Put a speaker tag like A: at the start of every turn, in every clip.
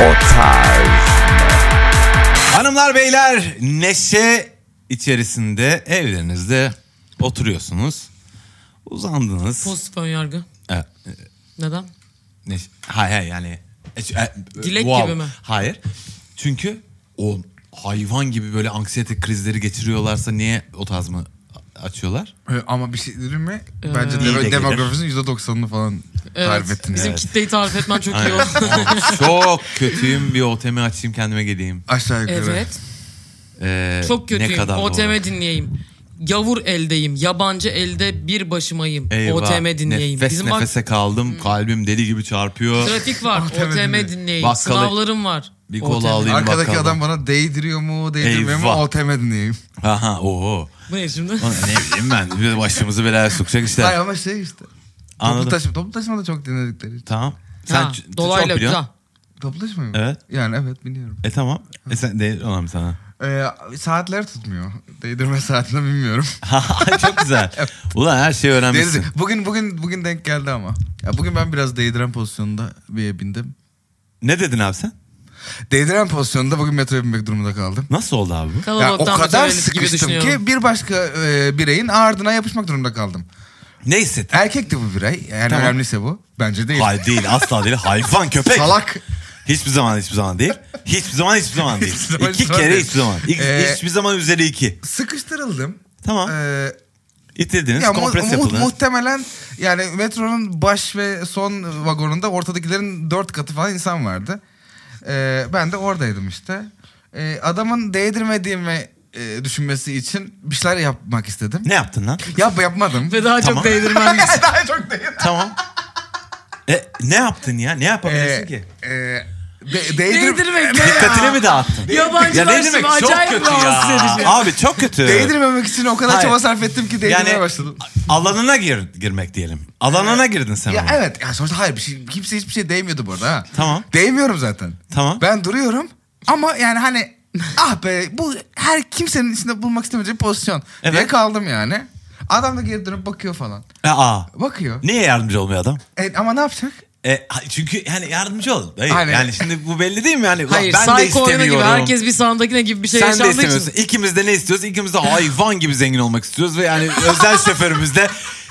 A: O tarz.
B: Hanımlar beyler neşe içerisinde evlerinizde oturuyorsunuz. Uzandınız.
C: Pozitif ön yargı.
B: E, e,
C: Neden?
B: neşe- hayır hayır yani. e, e,
C: Dilek gibi mi?
B: Hayır. Çünkü o hayvan gibi böyle anksiyete krizleri geçiriyorlarsa niye o tarz mı açıyorlar?
D: Ee, Ama bir şey dedim mi? Bence
C: Ee,
B: İyi de
D: de
B: gelir.
D: demografisinin %90'ını falan
C: Evet.
D: tarif ettin.
C: bizim
D: yani.
C: kitleyi tarif etmen çok iyi
B: Aynen.
C: oldu.
B: Aa, Çok kötüyüm bir OTM açayım kendime geleyim.
D: Aşağı yukarı.
C: evet.
B: Ee,
C: Çok
B: Ne
C: kötüyüm.
B: kadar
C: OTM
B: doğru.
C: dinleyeyim. Yavur eldeyim. Yabancı elde bir başımayım.
B: Eyvah.
C: OTM dinleyeyim.
B: Nefes
C: Bizim Hmm. bak
B: nefese kaldım. Kalbim deli gibi çarpıyor.
C: trafik var.
D: OTM
C: OTM dinleyeyim.
B: Bakkalı-
C: Sınavlarım var.
B: Bir kola
C: OTM.
B: alayım.
D: Arkadaki
B: bakalım.
D: adam bana değdiriyor mu, değdirmiyor mu
B: Eyvah.
D: OTM dinleyeyim.
B: Aha ooo.
C: Bu ne şimdi?
B: Ne bileyim ben. bir Başımızı belaya sokacak
D: Hayır
B: işler.
D: ama şey işte. Toplu
B: Anladım.
D: taşıma, toplu taşıma da çok dinledikleri.
B: Tamam. Sen
C: Ha,
B: ç-
C: dolaylı
B: çok biliyorsun.
C: güzel.
D: Toplu taşıma mı?
B: Evet.
D: Yani evet biliyorum.
B: E tamam. E sen değil olalım sana.
D: Ee, saatler tutmuyor. Değdirme saatini bilmiyorum.
B: çok güzel. Ulan her şeyi öğrenmişsin.
D: Değdirdi- bugün bugün bugün denk geldi ama. Ya bugün ben biraz değdiren pozisyonda bir bindim.
B: Ne dedin abi sen?
D: Değdiren pozisyonda bugün metroya binmek durumunda kaldım.
B: Nasıl oldu abi bu?
D: Ya
C: Kalabalıktan
D: o kadar
C: mütevellit gibi
D: sıkıştım
C: düşünüyorum.
D: ki bir başka e, bireyin ardına yapışmak durumda kaldım.
B: Ne hissettin?
D: Erkekti bu birey. Yani
B: Tamam.
D: önemliyse bu. Bence değil.
B: Hayır değil asla değil. Hayvan köpek.
D: Salak.
B: Hiçbir zaman hiçbir zaman değil. Hiçbir zaman hiçbir zaman değil.
D: Hiçbir zaman,
B: iki
D: hiçbir zaman
B: kere
D: değil.
B: hiçbir zaman. İlk-
D: Ee,
B: hiçbir zaman üzeri iki.
D: Sıkıştırıldım.
B: Tamam.
D: Ee,
B: İtirdiniz.
D: ya mu-
B: kompres
D: mu-
B: yapıldınız.
D: muhtemelen yani metronun baş ve son vagonunda ortadakilerin dört katı falan insan vardı. Ee, ben de oradaydım işte. Ee, adamın değdirmediğimi e, düşünmesi için bir şeyler yapmak istedim.
B: ne yaptın lan?
D: Yap yapmadım.
C: Ve daha
B: Tamam.
C: çok değdirmen lazım.
D: Daha çok değil.
B: tamam. E, ne yaptın ya? Ne yapabilirsin
D: Ee,
B: ki?
D: e, de- değdir-
C: Değdirmek ne
B: Dikkatini mi dağıttın? Ya ne demek
C: Yabancılaştım.
B: çok
C: Acayip
B: kötü
C: rahatsız
B: ya.
C: edici.
B: Abi çok kötü.
D: Değdirmemek için o kadar
B: Hayır.
D: çaba sarf ettim ki değdirmeye
B: yani
D: başladım.
B: alanına gir, girmek diyelim. Alanına girdin sen
D: Ya
B: ama.
D: evet. Ya sonuçta hayır bir şey, kimse hiçbir şey değmiyordu bu arada. Ha.
B: Tamam.
D: Değmiyorum zaten.
B: Tamam.
D: Ben duruyorum ama yani hani ah be bu her kimsenin içinde bulmak istemeyeceği pozisyon diye
B: Evet.
D: kaldım yani. Adam da geri dönüp bakıyor falan.
B: E, Aa,
D: Bakıyor.
B: niye yardımcı olmuyor adam?
D: E, ama ne yapacak?
B: E, ha- çünkü yani yardımcı olun. Hayır,
D: Aynen.
B: Yani şimdi bu belli değil mi? Yani, ulan
C: Hayır,
B: ben de
C: psycho oyunu gibi
B: istemiyorum.
C: herkes bir sandakine gibi bir şey
B: Sen de
C: yaşandığı için.
B: istemiyorsun. İkimiz de ne istiyoruz? İkimiz de hayvan gibi zengin olmak istiyoruz. Ve yani özel şoförümüzde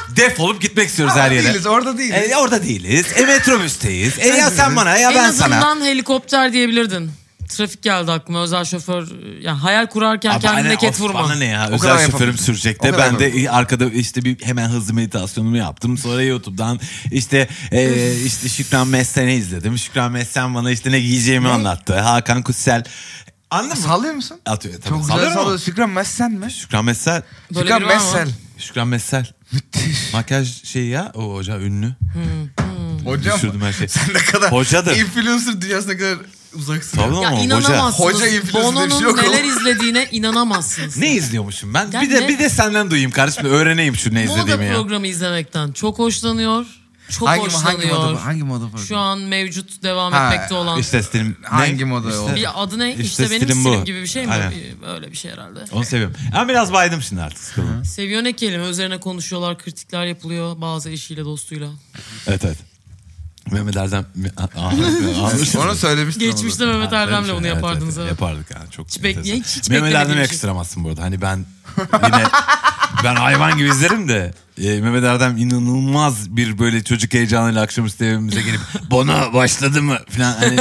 B: defolup gitmek istiyoruz her yere.
D: Değiliz orada değiliz.
B: E, orada değiliz. E, metrobüsteyiz. E, ya sen bana ya
C: en
B: ben
C: azından
B: sana.
C: helikopter diyebilirdin. Trafik geldi aklıma özel şoför. Yani hayal kurarken
B: Abi
C: kendine
B: aynen,
C: ket
B: hani of,
C: vurma.
B: Bana ne ya?
D: O kadar
B: Özel şoförüm
D: yapabilirim.
B: sürecek
D: O
B: de
D: kadar
B: ben de arkada işte bir hemen hızlı meditasyonumu yaptım. Sonra YouTube'dan işte e, işte Şükran Messen'i izledim. Şükran Messen bana işte ne giyeceğimi anlattı. Hakan Kutsel. Anladın mı?
D: Sallıyor musun?
B: Atıyor tabii.
D: Çok güzel
B: Sallıyorum ama.
D: sallıyor. Şükran Messel mi?
B: Şükran Messel.
C: Böyle
D: Şükran
C: biri var mı?
D: Messel.
B: Şükran Messel.
D: Müthiş.
B: Makyaj şeyi ya. O hoca ünlü.
D: Hocam.
B: Düşürdüm her şeyi.
D: Sen ne kadar
B: Hocadır.
D: influencer dünyasına kadar uzaksın.
B: Tabii
C: Ya
B: ama hoca.
C: inanamazsınız.
D: Hoca influencer diye bir
C: Bono'nun
D: şey yok
C: neler
D: oğlum.
C: izlediğine inanamazsınız.
B: Ne izliyormuşum ben?
C: Ya
B: bir de
C: ne-
B: bir de senden duyayım kardeşim. Öğreneyim şu ne
C: Moda
B: izlediğimi ya.
C: programı izlemekten çok hoşlanıyor. Çok
D: Hangi, hangi
C: hoşlanıyor.
D: moda? Hangi moda?
C: Şu an mevcut devam
D: Ha,
C: etmekte olan.
B: İşte stilim. ne?
D: Hangi moda o?
C: bir adı ne?
B: işte
C: İşte, benim
B: stilim
C: stilim,
B: bu.
C: gibi bir şey mi?
B: Aynen.
C: Bir- Öyle bir şey herhalde.
B: Onu seviyorum. Ben biraz baydım şimdi artık sıkıldım.
C: Seviyor ne kelime? Üzerine konuşuyorlar, kritikler yapılıyor bazı eşiyle, dostuyla.
B: Evet evet. Mehmet Erdem... Almışız.
D: Onu söylemiştim. ama.
C: Geçmişte Mehmet Erdem'le bunu yapardınız.
B: şey. Evet,
C: Evet,
B: evet. Yapardık yani çok
C: Hiç bek-
B: enteresan.
C: hiç- hiç
B: Mehmet
C: beklemediğim
B: Erdem'i
C: şey.
B: yakıştıramazsın burada. Hani ben yine ben hayvan gibi izlerim de e, Mehmet Erdem inanılmaz bir böyle çocuk heyecanıyla akşamüstü evimize gelip Bono başladı mı falan hani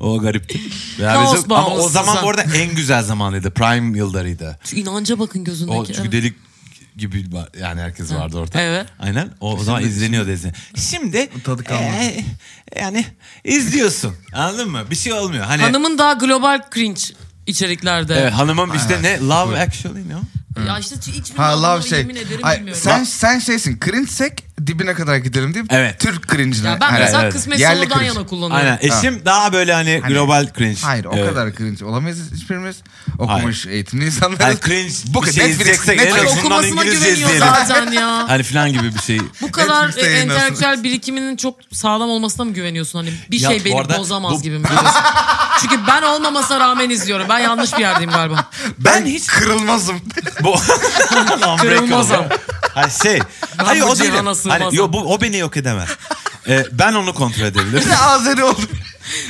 B: o garipti. Veya
C: Kaos
B: bizim- ama o
C: bağımlısı
B: zaman
C: sen.
B: bu arada en güzel zamanıydı. Prime yıllarıydı.
C: Şu inanca bakın gözündeki.
B: O çünkü
C: evet.
B: delik gibi var- yani herkes vardı orada.
C: Evet.
B: Aynen. O, o zaman izleniyordu izlen. Şimdi
D: Tadı kalmadı.
B: e, yani izliyorsun. Anladın mı? Bir şey olmuyor. Hani
C: Hanımın daha global cringe içeriklerde. Hmm.
B: Evet, hanımım işte ne Love Actually ne? o?
C: Ya işte hiçbir
D: Ha love şey.
C: yemin ederim
D: Ay,
C: bilmiyorum.
D: sen sen şeysin. Cringe'sek dibine kadar gidelim deyip
B: Evet.
D: Türk cringe'ine.
C: ya ben
D: Hayır,
C: mesela
B: evet.
C: kısmet
D: Yerli
C: sonradan
D: cringe.
C: yana kullanıyorum.
B: Aynen. Eşim daha böyle hani, global cringe. e,
D: Hayır o
B: Evet.
D: kadar cringe olamayız hiçbirimiz. Okumuş eğitimli insanlarız.
B: Hani cringe
D: Bu
B: bir
D: kadar
B: şey
D: Netflix,
B: izleyeceksek en
D: Netflix.
C: Ay,
B: azından
C: okumasına
B: İngilizce
C: güveniyor
B: izleyelim.
C: zaten ya.
B: Hani filan gibi bir şey.
C: Bu kadar e,
D: Netflix'te yayınlansın.
C: entelektüel birikiminin çok sağlam olmasına mı güveniyorsun? Hani bir
B: Ya bu
C: şey beni
B: arada
C: bozamaz
B: bu-
C: gibi mi? Çünkü ben olmamasına rağmen izliyorum. Ben yanlış bir yerdeyim galiba.
B: Ben hiç
D: kırılmazım.
B: bu
C: Kırılmaz ama.
B: Hayır şey. Hayır
C: bu
B: o değil.
C: cihana sığmazım.
B: Hani, yo, bu, o beni yok edemez. Ee, ben onu E, kontrol edebilirim.
D: Azeri oldum.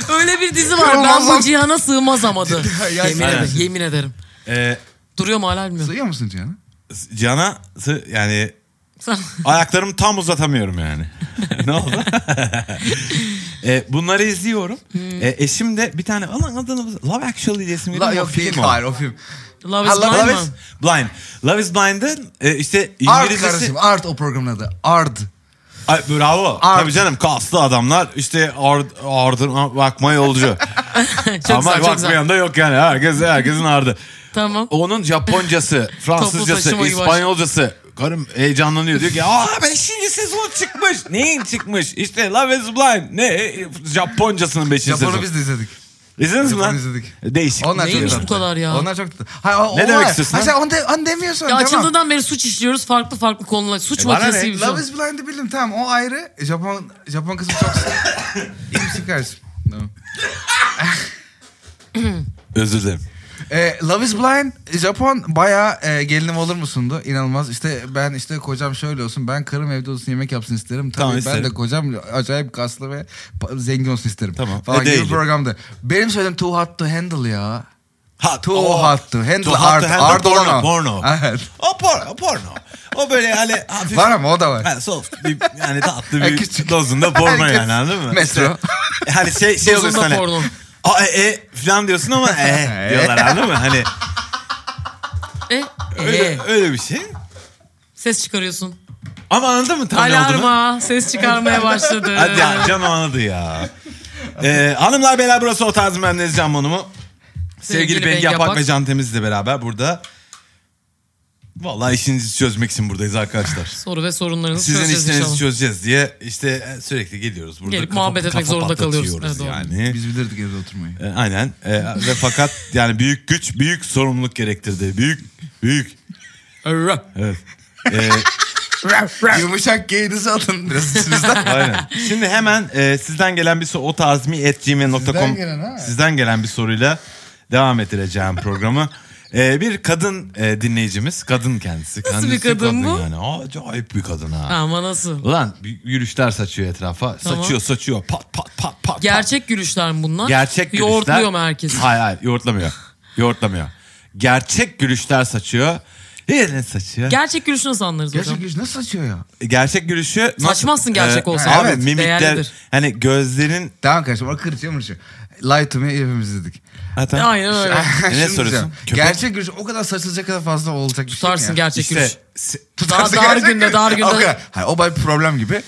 C: Öyle bir dizi var. Ben
D: Ramazan-
C: bu cihana sığmaz amadı.
D: Ya-
C: yemin,
B: Aynen.
C: ederim, yemin ederim.
B: Ee,
C: Duruyor mu hala bilmiyorum.
D: Sığıyor musun Cihan'a?
B: Can'a sı- yani ayaklarımı tam uzatamıyorum yani. ne oldu? Ee, bunları izliyorum.
C: Hmm.
B: Ee, eşim de bir tane alan adını Love Actually diye isim
D: La,
B: veriyor.
D: yok değil. Hayır o film.
C: Love is
D: Allah-
C: Blind
D: Love
C: mı?
D: is-
B: Blind. Love is Blind'ın e, işte
D: Art
B: İngilizcesi.
D: kardeşim. Art o programın adı. Art.
B: Ay, bravo.
D: Art.
B: Tabii canım kaslı adamlar işte ard, ardına bakma yolcu.
C: Çok
B: Ama
C: güzel, çok güzel.
B: bakmayan da yok yani. Herkes, herkesin ardı.
C: Tamam.
B: Onun Japoncası, Fransızcası,
C: taşıma gibi
B: İspanyolcası. Karım heyecanlanıyor diyor ki aa 5. sezon çıkmış. Neyin çıkmış? İşte Love is Blind. Ne? E, Japoncasının 5. sezonu.
D: Japon'u biz de izledik.
B: İzlediniz mi
D: Japon'u
B: lan?
D: izledik.
B: Değişik.
D: Onlar
C: Neymiş
D: çok
C: bu kadar ya?
D: Onlar çok tatlı. Hayır, o-
B: Ne
D: o
B: demek
D: var.
B: istiyorsun
D: Ha,
B: lan?
D: sen onu, de, onu demiyorsun.
C: Ya
D: devam.
C: açıldığından beri suç işliyoruz. Farklı farklı konular. Suç
B: E bana ne?
C: makinesiymiş makinesiymiş o.
D: Love is Blind'i bildim tamam o ayrı. E, Japon Japon kısmı çok... İyimsi kardeşim. Tamam.
B: Özür dilerim.
D: E, Love is Blind Japon bayağı e, gelinim olur musundu? İnanılmaz. İşte ben işte kocam şöyle olsun. Ben karım evde olsun yemek yapsın isterim. Tabii
B: Tamam,
D: ben
B: isterim.
D: de kocam acayip kaslı ve pa- zengin olsun isterim.
B: Tamam. E,
D: Falan gibi
B: değil.
D: bir programdı. Benim söylediğim too hot to handle ya.
B: Ha,
D: Too
B: o-
D: hot to handle.
B: Oh, Too hot to
D: art,
B: handle
D: art olan
B: porno,
D: o.
B: porno.
D: Evet.
B: O porno, porno. O böyle hani hafif
D: Var ama o da var.
B: Ha, soft bir yani tatlı
D: Ha,
B: bir
D: küçük.
B: dozunda porno
D: Herkes-
B: yani anladın mı?
D: Metro.
B: İşte, hani şey, şey
C: Dozunda
B: oluyorsun hani.
C: porno.
B: Aa, e, e falan diyorsun ama e
D: E.
B: diyorlar anladın mı? Hani
C: E,
B: öyle,
C: e,
B: öyle bir şey.
C: ses çıkarıyorsun.
B: Ama anladın mı tam ne olduğunu?
C: Alarma. Ses çıkarmaya başladı.
B: Hadi ya canım anladı ya. Ee, hanımlar beyler burası o tarz ben Deniz Can Bonomo. Sevgili,
C: Sevgili
B: Sevgili Bengi
C: Bengi
B: Apak ve
C: Apak.
B: Can Temiz'le beraber burada. Vallahi işinizi çözmek için buradayız arkadaşlar.
C: Soru ve sorunlarınızı
B: Sizin
C: çözeceğiz
B: işlerinizi
C: inşallah.
B: çözeceğiz diye işte e, sürekli geliyoruz. Burada
C: Gelip muhabbet etmek zorunda kalıyoruz.
B: patlatıyoruz
C: Evet, doğru.
B: yani.
D: Biz bilirdik evde oturmayı.
B: E, Aynen. E, ve fakat yani büyük güç, büyük sorumluluk gerektirdi. Büyük, büyük. Evet. E,
D: Yumuşak geyinizi alın biraz içinizden.
B: aynen. Şimdi hemen e, sizden gelen bir soru o
D: Sizden gelen ha.
B: sizden gelen bir soruyla devam ettireceğim programı. E, bir kadın e, dinleyicimiz, kadın kendisi.
C: Nasıl bir
B: Kendisi
C: kadın bu?
B: Yani. Acayip bir kadın ha.
C: Ama nasıl?
B: Ulan y- yürüyüşler saçıyor etrafa.
C: Tamam.
B: Saçıyor saçıyor. Pat pat pat pat.
C: Gerçek gülüşler mi bunlar?
B: pat. Gerçek gülüşler.
C: Yoğurtluyor mu herkes?
B: Hayır hayır yoğurtlamıyor. Yoğurtlamıyor. Gerçek gülüşler saçıyor. Yerine saçıyor.
C: Gerçek gülüşü nasıl anlarız hocam?
D: Gerçek yüz nasıl açıyor ya?
B: gerçek gülüşü...
C: Saçmazsın gerçek
B: Ee,
C: olsa.
B: Abi
D: Evet,
B: mimikler...
C: değerlidir.
B: Hani gözlerin...
D: Tamam kardeşim o kırıtıyor mırıtıyor. Lie to me hepimiz dedik.
B: Ha, tamam.
C: Aynen öyle.
B: Şey
D: Şimdi diyeceğim,
B: soruyorsun? Köpek-
D: Gerçek gülüş o kadar saçılacak kadar fazla olacak bir şey mi
C: Tutarsın
D: ya?
C: gerçek
B: İşte...
C: gülüş.
B: se-
C: Daha
D: Tutarsın
C: dar
D: gerçek
C: günde
D: gülüş.
C: dar günde.
D: O kadar. Hayır o bayağı bir problem gibi.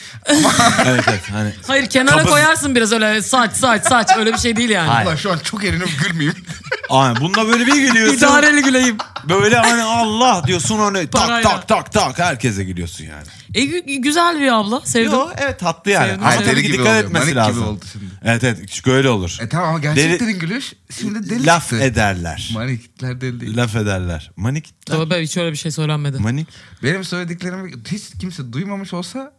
B: evet evet. Hani...
C: Hayır kenara
B: Kabız-
C: koyarsın biraz öyle saç saç saç öyle bir şey değil yani.
B: Hayır.
D: Ulan şu an çok eğlenip gülmeyeyim.
B: Aynen. Bununla böyle bir gülüyorsun.
C: İdareli güleyim.
B: Böyle hani Allah diyorsun hani tak
C: Parayla.
B: tak tak tak herkese gülüyorsun yani.
C: E, gü- güzel bir abla sevdim.
B: Yo, evet tatlı yani.
C: Sevdim.
B: Ama
C: Hayır,
B: tabii
D: deli
B: ki
D: gibi
B: dikkat
D: oluyor.
B: etmesi
D: Manik gibi
B: lazım.
D: oldu şimdi.
B: Evet evet çünkü öyle olur.
D: e tamam ama gerçek
B: Deli-
D: dedin gülüş. Şimdi deli
B: Laf
D: çıktı.
B: ederler.
D: Manikler deli değil.
B: Laf ederler. Manik.
C: Tövbe hiç öyle bir şey söylenmedi.
B: Manik.
D: Benim söylediklerimi hiç kimse duymamış olsa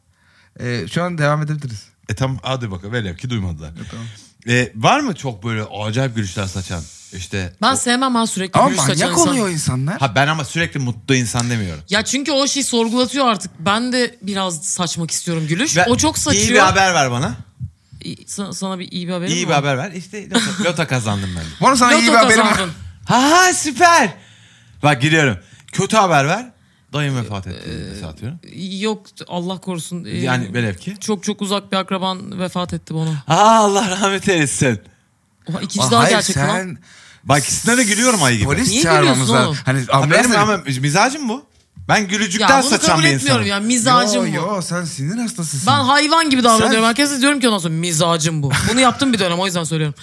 D: e, şu an devam edebiliriz.
B: E tamam hadi bakalım. Velev ki duymadılar.
D: tamam.
B: E, var mı çok böyle acayip gülüşler saçan? İşte.
C: Ben sevmem ha sürekli
D: Ama
C: gülüş saçan
D: manyak
C: insan.
D: oluyor insanlar.
B: Ha ben ama sürekli mutlu insan demiyorum.
C: Ya çünkü o şey sorgulatıyor artık. Ben de biraz saçmak istiyorum gülüş.
B: Ve
C: o çok saçıyor.
B: İyi bir haber ver bana.
C: İyi- Sana, sana bir iyi bir haberim
B: iyi bir
C: var.
B: haber ver. İşte loto, loto kazandım ben. de.
D: Bu arada sana iyi bir
C: Loto
D: haberim var.
C: kazandın.
B: Ha ha, süper. Bak giriyorum. Kötü haber ver. Dayım vefat etti.
C: Ee,
B: Mesela atıyorum.
C: Yok Allah korusun. Ee,
B: Yani velev ki.
C: Çok çok uzak bir akraban vefat etti bana.
B: Aa Allah rahmet eylesin.
C: Oha, ikinci
D: Aa,
C: daha
D: hayır,
C: gerçek lan.
D: sen
B: Bak ikisine de gülüyorum ayı gibi.
D: polis
C: Niye
D: çağırmamız
C: gülüyorsun
D: lazım.
C: oğlum?
D: Hani
B: Ha,
D: ambulans
B: benim
D: mı?
B: ama mizacım bu. Ben gülücükten
C: Ya bunu
B: saçan
C: kabul
B: bir insanım.
C: etmiyorum ya mizacım bu.
D: yo, Yo sen sinir hastasısın.
C: Ben hayvan gibi davranıyorum.
D: Sen-
C: Herkese diyorum ki ondan sonra mizacım bu. Bunu yaptım bir dönem o yüzden söylüyorum.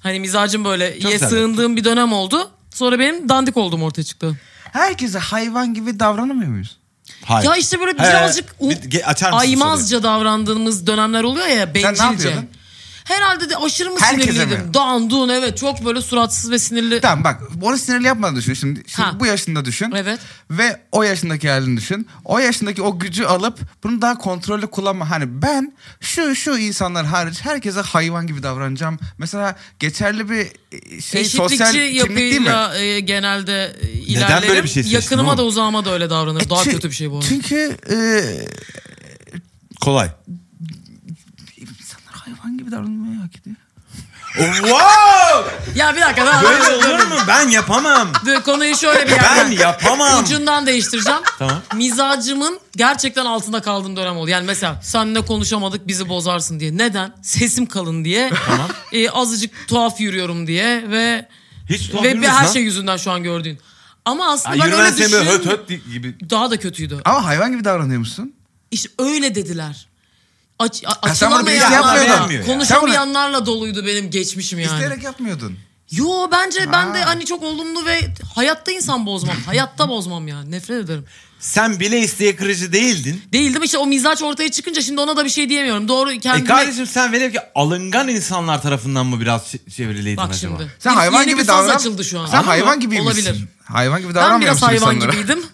C: Hani mizacım böyle
B: Çok
C: ye
B: güzel.
C: sığındığım bir dönem oldu. Sonra benim dandik olduğum ortaya çıktı.
D: Herkese hayvan gibi davranamıyor muyuz?
B: Hayır.
C: Ya işte böyle
B: Hayır,
C: birazcık
B: hayır. Bir- ge- açar mısın soruyu?
C: aymazca davrandığımız dönemler oluyor ya bencilce.
D: yapıyordun?
C: Herhalde de aşırı mı
D: Herkese
C: sinirliydim?
D: mi?
C: Dandun evet çok böyle suratsız ve sinirli.
D: Tamam bak onu sinirli yapmadan düşün. Şimdi, şimdi
C: Ha.
D: bu yaşında düşün.
C: Evet.
D: Ve o yaşındaki halini düşün. O yaşındaki o gücü alıp bunu daha kontrollü kullanma. Hani ben şu şu insanlar hariç herkese hayvan gibi davranacağım. Mesela geçerli bir e, şey sosyal
C: Eşitlikçi
D: kimlik değil mi?
C: yapıyla e, genelde e, ilerlerim.
B: böyle bir şey seçtin
C: Yakınıma
B: oğlum? E,
C: da uzağıma da öyle davranır. Daha
D: Çü-
C: kötü bir şey bu. arada.
D: E, Çünkü e,
B: Kolay.
D: insanlar hayvan gibi davranmayı hak ediyor.
B: wow!
C: Ya bir dakika daha
B: Böyle olur mu? Ben yapamam.
C: Dur, konuyu şöyle bir
B: Ben
C: yerden.
B: yapamam.
C: Ucundan değiştireceğim.
B: Tamam.
C: Mizacımın gerçekten altında kaldığım dönem oldu. Yani mesela seninle konuşamadık bizi bozarsın diye. Neden? Sesim kalın diye. Tamam. azıcık tuhaf yürüyorum diye ve
B: Hiç tuhaf
C: ve bir
B: yürümüyorsun
C: her
B: lan.
C: şey yüzünden şu an gördüğün. Ama aslında
B: Ya
C: ben öyle
B: yürümen senin böyle
C: düşünüyorum.
B: höt höt di- gibi.
C: Daha da kötüydü.
D: Ama hayvan gibi davranıyormuşsun.
C: İşte öyle dediler. Aç, a-
D: sen bunu
B: şey
D: bilinçli
C: açılamayanlarla,
B: yapmıyordun.
C: konuşamayanlarla doluydu benim geçmişim yani.
D: İsteyerek yapmıyordun.
C: Yo bence ben de
D: Ha.
C: hani çok olumlu ve hayatta insan bozmam. hayatta bozmam yani. Nefret ederim.
B: Sen bile isteye kırıcı değildin.
C: Değildim işte o mizaç ortaya çıkınca şimdi ona da bir şey diyemiyorum. Doğru
B: E
C: kendime...
B: kardeşim sen velev ki alıngan insanlar tarafından mı biraz çe- çevriliydin
C: Bak
B: acaba?
C: şimdi.
D: Sen
C: Bir-
D: hayvan
C: yeni
D: gibi
C: bir faz
D: davran.
C: açıldı şu an.
D: Sen
C: Anladın
D: hayvan
C: mı?
D: gibiymişsin.
C: Olabilir.
D: Hayvan gibi
C: Ben biraz
D: davranmıyormuşsun
C: hayvan
D: insanlara.
C: gibiydim.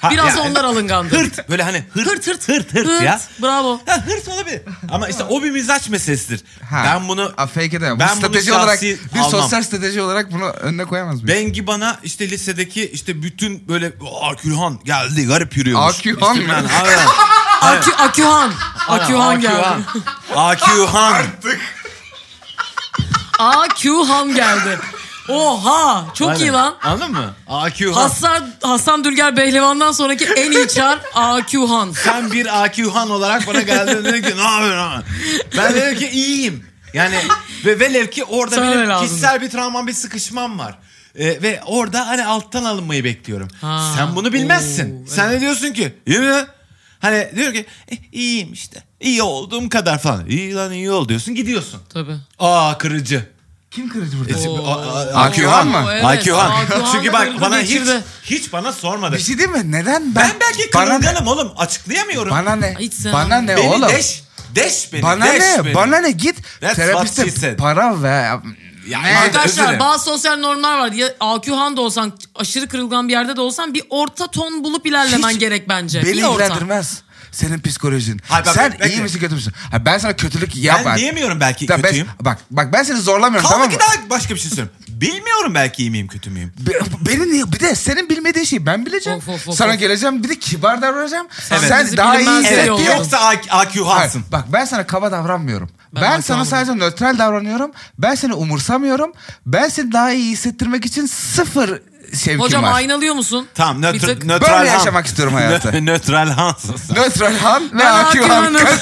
B: Ha,
C: biraz
B: ya-
C: onlar alıngandı.
B: Hırt böyle hani hırt
C: Hırt hırt
B: hırt, hırt ya.
C: Bravo.
B: Ha, hırs olabilir. Ama işte o bir mizaç meselesidir.
D: Ha.
B: Ben bunu
D: Aa, fake edemem.
B: Ben
D: Ben
B: bunu
D: strateji
B: şahsi
D: olarak bir
B: almam.
D: sosyal strateji olarak bunu önüne koyamaz mıyız?
B: Bengi bana işte lisedeki işte bütün böyle "Aa, Külhan geldi garip yürüyormuş.
D: Aa, Külhan
B: İşte
D: mı?
B: ben- aynen.
C: Akü, Akühan. Akühan geldi.
B: Akühan.
C: Akühan geldi. Oha çok iyi lan.
B: Anladın mı? Akühan.
C: Hasan, Hasan Dülger Behlivan'dan sonraki en iyi çar Akühan.
B: Sen bir Akühan olarak bana geldin dedin ki ne yapıyorsun lan?" Ben dedim ki iyiyim. Yani ve velev ki orada
C: Sana ne
B: benim
C: lazım?
B: kişisel bir travmam bir sıkışmam var. Ee, ve orada hani alttan alınmayı bekliyorum.
C: Ha,
B: Sen bunu bilmezsin.
C: oo,
B: Sen ne diyorsun ki? "İyi mi?" Hani diyor ki "Eh, iyiyim işte. İyi olduğum kadar falan. İyi lan iyi ol diyorsun gidiyorsun.
C: Tabii.
B: Aa kırıcı.
D: Kim kırıcı burada?
B: Ece-
C: Oo.
B: A- a- a-
D: Akühan mı?
C: Oo, evet.
B: Akühan.
C: Akühan
B: Çünkü
C: kırdı
B: bak bana hiç
C: geçirdi.
B: hiç bana sormadı.
D: Bir şey değil mi? Neden?
B: Ben belki
D: bana ne?
B: kırılganım oğlum açıklayamıyorum.
D: Bana ne?
C: Hiç sen-
D: Bana ne
B: beni
D: oğlum?
B: deş, deş beni.
D: Bana
B: deş
D: ne?
B: beni.
D: Bana ne? Git
B: That's what she
D: terapiste
B: said.
D: para ver.
B: Ya
D: Ne?
B: arkadaş- Özür
C: Arkadaşlar
B: dilerim.
C: bazı sosyal normlar var. Ya Akühan da olsan aşırı kırılgan bir yerde de olsan bir orta ton bulup ilerlemen
D: Hiç
C: gerek bence.
D: Beni
C: bir orta.
D: ilgilendirmez. Senin psikolojin.
B: Hayır, bak,
D: Sen
B: bekle.
D: iyi misin kötü müsün? Hayır, ben sana kötülük
B: Ben
D: yapmam.
B: diyemiyorum belki
D: Tamam, ben-
B: kötüyüm.
D: bak bak ben seni zorlamıyorum
B: Kaldı
D: tamam mı?
B: ki daha başka bir şey söylüyorum. Bilmiyorum belki iyi miyim kötü müyüm.
D: Be- Beni niye? Bir de senin bilmediğin şeyi ben bileceğim.
C: Of, of, of,
D: sana
C: of.
D: geleceğim bir de kibar davranacağım.
C: Evet.
D: Sen
C: bizi
D: daha iyi
C: bilmezden
B: Evet
C: iyi oldun.
D: hissettiğin
B: yoksa Ak-
D: Hayır,
B: Akühan'sın.
D: bak ben sana kaba davranmıyorum. Ben,
C: Ben hakkı
D: sana
C: almadım.
D: sadece nötral davranıyorum. Ben seni umursamıyorum. Ben seni daha iyi hissettirmek için sıfır sevkim
C: Hocam
D: var.
C: aynalıyor musun?
B: Tamam
C: Bir
B: nötr,
C: tık.
B: nötral
D: Böyle
B: han.
D: yaşamak istiyorum hayatı.
B: Nö- nötral hansın sen.
D: Nötral han ve
C: Ben
D: Akü han.
C: Akühan'ım.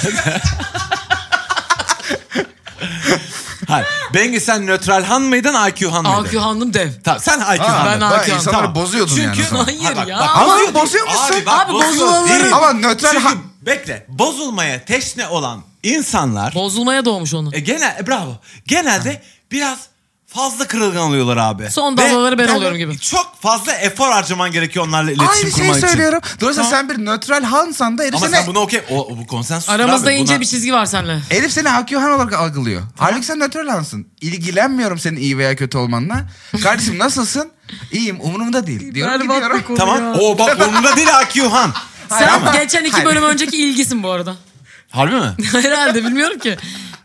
B: Hayır. Bengi sen nötral han mıydın Akühan mıydın?
C: Akühan'ım dev.
B: Tamam sen
D: Ha,
B: Akühan.
C: Ben
D: bak,
C: Akü han.
D: insanları bozuyordun
B: Çünkü,
D: yani. o zaman.
C: Hayır ya.
D: Ama
B: bozuyor-
D: bozuyor musun?
C: Abi bozulanırım.
B: değil.
D: Ama nötral
B: Çünkü
D: han-
B: bekle. Bozulmaya teşne olan insanlar
C: Bozulmaya doğmuş onu.
B: E, genel e, bravo. Genelde biraz fazla kırılgan oluyorlar abi.
C: Son
B: Ve
C: damlaları ben
B: yani
C: oluyorum gibi.
B: Çok fazla efor harcaman gerekiyor onlarla iletişim
D: Aynı şeyi
B: kurman için.
D: söylüyorum. Dolayısıyla
B: Tamam.
D: sen bir nötral hansan da herif
B: Ama
D: seni,
B: sen bunu okey. O, o bu konsensüs.
C: Aramızda
B: abi,
C: ince
B: buna-
C: bir şey çizgi var seninle.
D: herif seni Akü han olarak algılıyor. Halbuki sen nötral hansın. İlgilenmiyorum senin iyi veya kötü olmanla. Kardeşim nasılsın? İyiyim umurumda değil. Diyorum
C: Berbat bir
D: gidiyorum.
C: konu ya.
B: Tamam. O bak onunla değil Akühan.
D: Hayır
C: Sen
D: ama-
C: geçen iki
D: Hayır.
C: bölüm önceki ilgisin bu arada.
B: Harbi mi?
C: Herhalde bilmiyorum ki.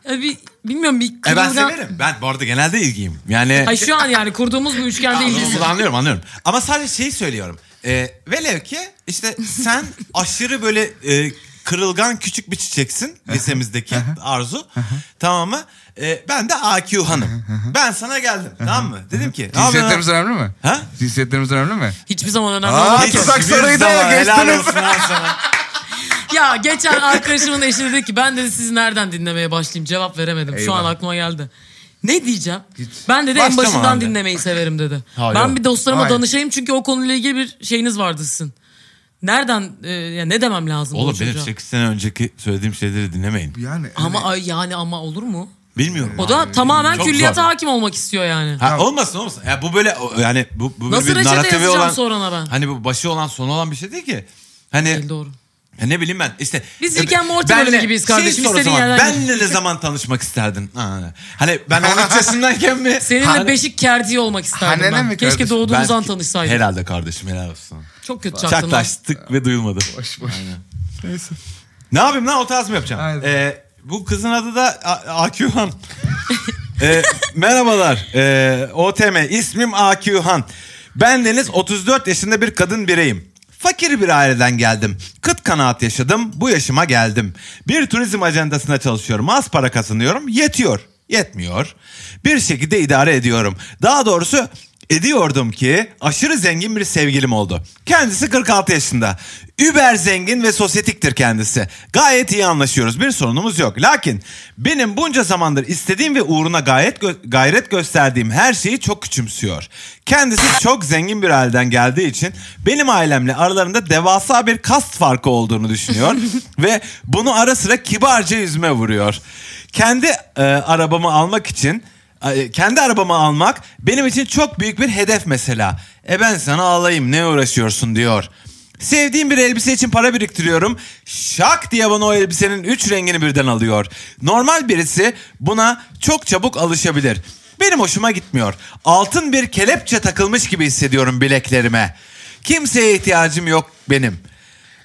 C: Ya bir, bilmiyorum bir
B: E ben
C: kırılgan...
B: severim. Ben bu arada genelde ilgiyim. Yani
C: Ay şu an yani kurduğumuz bu üçgende ilgisin.
B: Anladım, anlıyorum anlıyorum. Ama sadece şeyi söylüyorum. Ee, velev ki işte sen aşırı böyle e, kırılgan küçük bir çiçeksin lisemizdeki Arzu. tamam mı? Ee, ben de AQ hanım. ben sana geldim tamam mı? Dedim ki. ne yapıyorsun?
D: Cinsiyetlerimiz önemli mi?
B: Ha?
D: Cinsiyetlerimiz önemli mi?
C: Hiçbir zaman önemli
D: Aa,
C: olmaz
B: Hiç
C: ki.
D: tuzak
B: hiçbir
D: soruydu ya,
B: zaman, helal
D: geçtiniz.
B: olsun lan sana.
C: Ya geçen arkadaşımın eşi dedi ki ben dedi sizi nereden dinlemeye başlayayım cevap veremedim. Şu
D: Eyvah.
C: an aklıma geldi. Ne diyeceğim? Ben dedi en
B: Başlama
C: başından
B: abi.
C: dinlemeyi severim dedi.
B: Hayır.
C: Ben bir dostlarıma
D: Hayır.
C: danışayım çünkü o konuyla ilgili bir şeyiniz vardı sizin. Nereden e, ya ne demem lazım
B: Oğlum
C: bu
B: benim
C: çocuğa?
B: 8 sene önceki söylediğim şeyleri dinlemeyin.
D: Yani
C: Ama ay, yani ama olur mu?
B: Bilmiyorum.
C: O da tamamen
B: çok
C: külliyata
B: zor.
C: hakim olmak istiyor yani.
B: Ha, olmasın olmasın. Ya bu böyle o- yani bu, bu böyle
C: Nasıl
B: bir
C: reçete
B: narratifi
C: yazacağım
B: olan
C: sorana ben?
B: Hani bu başı olan sonu olan bir şey değil ki. Hani
C: Değil, doğru.
B: Ya ne bileyim ben işte.
C: Biz
B: e,
C: Rick and Morty
B: benle-
C: bölümü gibiyiz
B: şey
C: kardeşim,
B: sor o
C: istediğin
B: zaman,
C: yerden
B: Benle ne zaman tanışmak isterdin? Ha. Hani ben 13 yaşındayken mi?
C: Seninle
B: Hani-
C: beşik kerdiği olmak isterdim
D: Hanene
C: ben.
D: mi
C: Keşke
D: kardeşim?
C: doğduğumuz
B: Ben-
C: an tanışsaydık.
B: Herhalde kardeşim helal olsun.
C: Çok kötü çaktın. lan.
B: Çaklaştık ve duyulmadı.
D: Boş boş. Neyse.
B: Ne yapayım lan o tarz mı yapacağım?
D: Aynen.
B: Ee, bu kızın adı da A- Akühan. Ee, merhabalar. Ee, OTM ismim Akühan. Ben Deniz 34 yaşında bir kadın bireyim. Fakir bir aileden geldim. Kıt kanaat yaşadım. Bu yaşıma geldim. Bir turizm ajandasına çalışıyorum. Az para kazanıyorum. Yetiyor. Yetmiyor. Bir şekilde idare ediyorum. Daha doğrusu ediyordum ki aşırı zengin bir sevgilim oldu. Kendisi 46 yaşında. Über zengin ve sosyetiktir kendisi. Gayet iyi anlaşıyoruz. Bir sorunumuz yok. Lakin benim bunca zamandır istediğim ve uğruna gayet gö- gayret gösterdiğim her şeyi çok küçümsüyor. Kendisi çok zengin bir aileden geldiği için benim ailemle aralarında devasa bir kast farkı olduğunu düşünüyor ve bunu ara sıra kibarca yüzüme vuruyor. Kendi e, arabamı almak için e, kendi arabamı almak benim için çok büyük bir hedef mesela. E ben sana alayım ne uğraşıyorsun diyor. Sevdiğim bir elbise için para biriktiriyorum. Şak diye bana o elbisenin üç rengini birden alıyor. Normal birisi buna çok çabuk alışabilir. Benim hoşuma gitmiyor. Altın bir kelepçe takılmış gibi hissediyorum bileklerime. Kimseye ihtiyacım yok benim.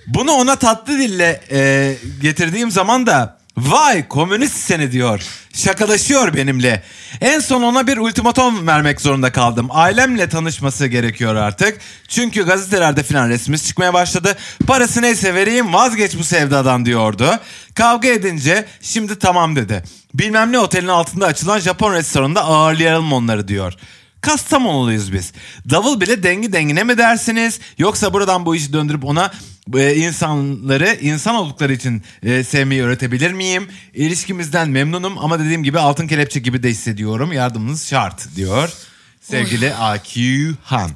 B: Bunu ona tatlı dille e, getirdiğim zaman da vay komünist seni diyor. Şakalaşıyor benimle. En son ona bir ultimatom vermek zorunda kaldım. Ailemle tanışması gerekiyor artık. Çünkü gazetelerde filan resmimiz çıkmaya başladı. Parası neyse vereyim vazgeç bu sevdadan diyordu. Kavga edince şimdi tamam dedi. Bilmem ne otelin altında açılan Japon restoranında ağırlayalım onları diyor. Kastamonuluyuz biz. Davul bile dengi dengine mi dersiniz? Yoksa buradan bu işi döndürüp ona e, insanları insan oldukları için e, sevmeyi öğretebilir miyim? İlişkimizden memnunum ama dediğim gibi altın kelepçe gibi de hissediyorum. Yardımınız şart diyor. Sevgili AQ Han.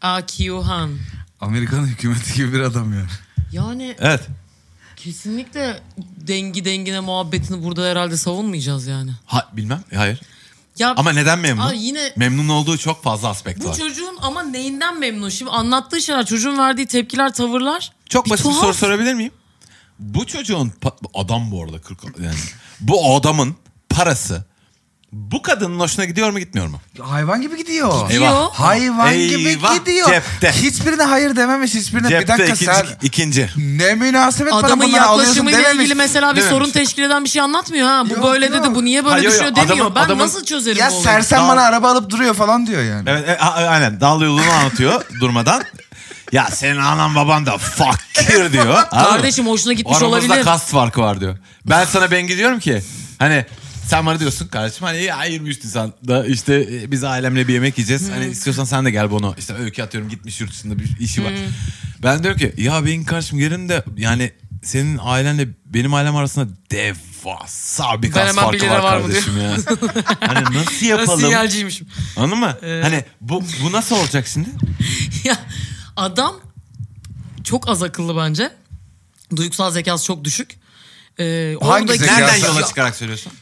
C: Akiyohan.
D: Amerikan hükümeti gibi bir adam ya.
C: Yani
B: Evet.
C: kesinlikle dengi dengine muhabbetini burada herhalde savunmayacağız yani.
B: Ha, bilmem. Hayır.
C: Ya
B: Ama neden memnun?
C: Aa, yine-
B: Memnun olduğu çok fazla aspekt
C: bu
B: var.
C: çocuğun ama neyinden memnun? Şimdi anlattığı şeyler, çocuğun verdiği tepkiler, tavırlar.
B: Çok basit bir
C: tuhaf.
B: soru sorabilir miyim? Bu çocuğun pa- adam bu arada 40 yani bu adamın parası bu kadının hoşuna gidiyor mu gitmiyor mu?
D: Hayvan gibi gidiyor.
C: Gidiyor. Eyvah.
D: Hayvan
B: Eyvah,
D: gibi gidiyor.
B: cepte.
D: Hiçbirine hayır dememiş hiçbirine. bir
B: Cepte
D: dakika
B: ikinci,
D: sen
B: ikinci.
D: ne münasebet bana
C: Adamın
D: bunları alıyorsun
C: yaklaşımıyla
D: dememiş.
C: ilgili mesela bir
D: Dememiş.
C: sorun teşkil eden bir şey anlatmıyor ha. Bu
D: Yok,
C: böyle
D: yok.
C: dedi, bu niye
B: Ha,
C: böyle
B: yo, yo,
C: düşüyor
B: adamın-
C: demiyor. ben
B: adamın-
C: nasıl çözerim
D: Ya
C: bu olayı?
D: sersem
B: Dağ-
D: bana araba alıp duruyor falan diyor yani.
B: Evet, e, a- aynen dal yolunu anlatıyor durmadan. Ya senin anan baban da fakir diyor. Anladın mı?
C: Kardeşim hoşuna gitmiş
B: Aramızda
C: olabilir.
B: kast farkı var diyor. Ben sana ben gidiyorum ki hani sen bana diyorsun kardeşim hani ya 23 Nisan'da işte e, biz ailemle bir yemek yiyeceğiz. Hani
C: Hmm.
B: istiyorsan sen de gel bunu işte öykü atıyorum gitmiş yurt dışında bir işi
C: Hmm.
B: var. Ben diyorum ki ya benim kardeşim gelin de yani senin ailenle benim ailem arasında devasa bir
C: Ben
B: kas
C: hemen bir
B: farkı
C: lira
B: var,
C: var mı
B: kardeşim ya. hani nasıl
C: Ben
B: yapalım?
C: sinyalciymişim.
B: Anladın mı?
C: Ee.
B: Hani bu, bu nasıl olacak şimdi?
C: ya adam çok az akıllı bence. Duygusal zekası çok düşük. Ee,
D: Hangi
C: oradaki-
D: zekası?
B: Nereden
D: ya-
B: yola çıkarak söylüyorsun?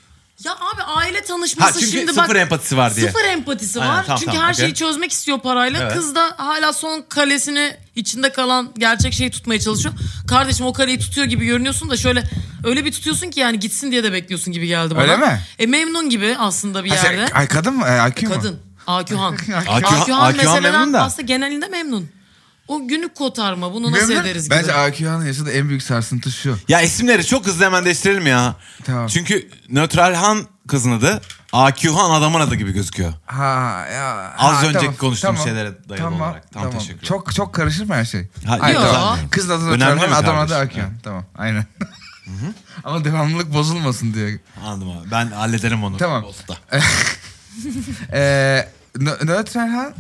C: Ya abi aile tanışması
B: Ha çünkü
C: şimdi bak.
B: sıfır empatisi var diye.
C: Sıfır empatisi
B: Aynen,
C: var.
B: tamam,
C: Çünkü
B: tamam,
C: her
B: okey.
C: şeyi çözmek istiyor parayla.
B: Evet.
C: Kız da hala son kalesini içinde kalan gerçek şeyi tutmaya çalışıyor. Kardeşim o kaleyi tutuyor gibi görünüyorsun da şöyle öyle bir tutuyorsun ki yani gitsin diye de bekliyorsun gibi geldi bana.
D: Öyle mi?
C: E memnun gibi aslında bir
D: Ha, sen-
C: yerde.
D: ay kadın mı? Ay, IQ mu?
C: Kadın. Akühan.
B: Akühan-
C: Akühan
B: Akühan memnun
C: meseleden
B: da.
C: aslında genelinde memnun. O günlük kotarma bunu nasıl
D: Memnun.
C: ederiz gibi.
D: Bence IQ'nun yaşadığı en büyük sarsıntı şu.
B: Ya isimleri çok hızlı hemen değiştirelim ya.
D: Tamam.
B: Çünkü Nötral Han kızın adı, AQ Han adamın adı gibi gözüküyor.
D: Ha ya.
B: Az
D: ha,
B: önceki konuştuğum şeylere dayalı olarak. Tamam, teşekkür
D: Çok çok karışır mı her şey?
B: Ha,
D: Ay,
C: yok.
D: tamam. Kızın adını
B: Önemli
D: Önemli
B: mi
D: adam adı
B: kardeşim?
D: Akyon. Tamam aynen. Ama devamlılık bozulmasın diye.
B: Anladım abi. Ben hallederim onu.
D: Tamam. Eh.
B: Posta.
D: Ee, Nö- Nötren Han...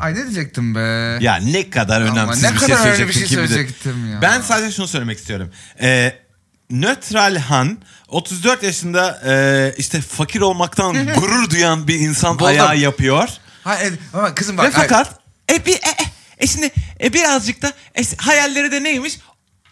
D: Ay ne diyecektim be?
B: Ya ne kadar
D: Ama
B: önemsiz
D: ne
B: bir,
D: kadar
B: şey
D: önemli bir
B: söyleyecektin
D: şey
B: ki bilir.
D: söyleyecektim ya.
B: Ben sadece şunu söylemek istiyorum. Ee, Nötral Han 34 yaşında e, işte fakir olmaktan gurur duyan bir insan
D: Buldum.
B: ayağı yapıyor.
D: Ha, e, ama kızım bak.
B: Ve fakat e, bir, e, e, e şimdi e, birazcık da e, hayalleri de neymiş?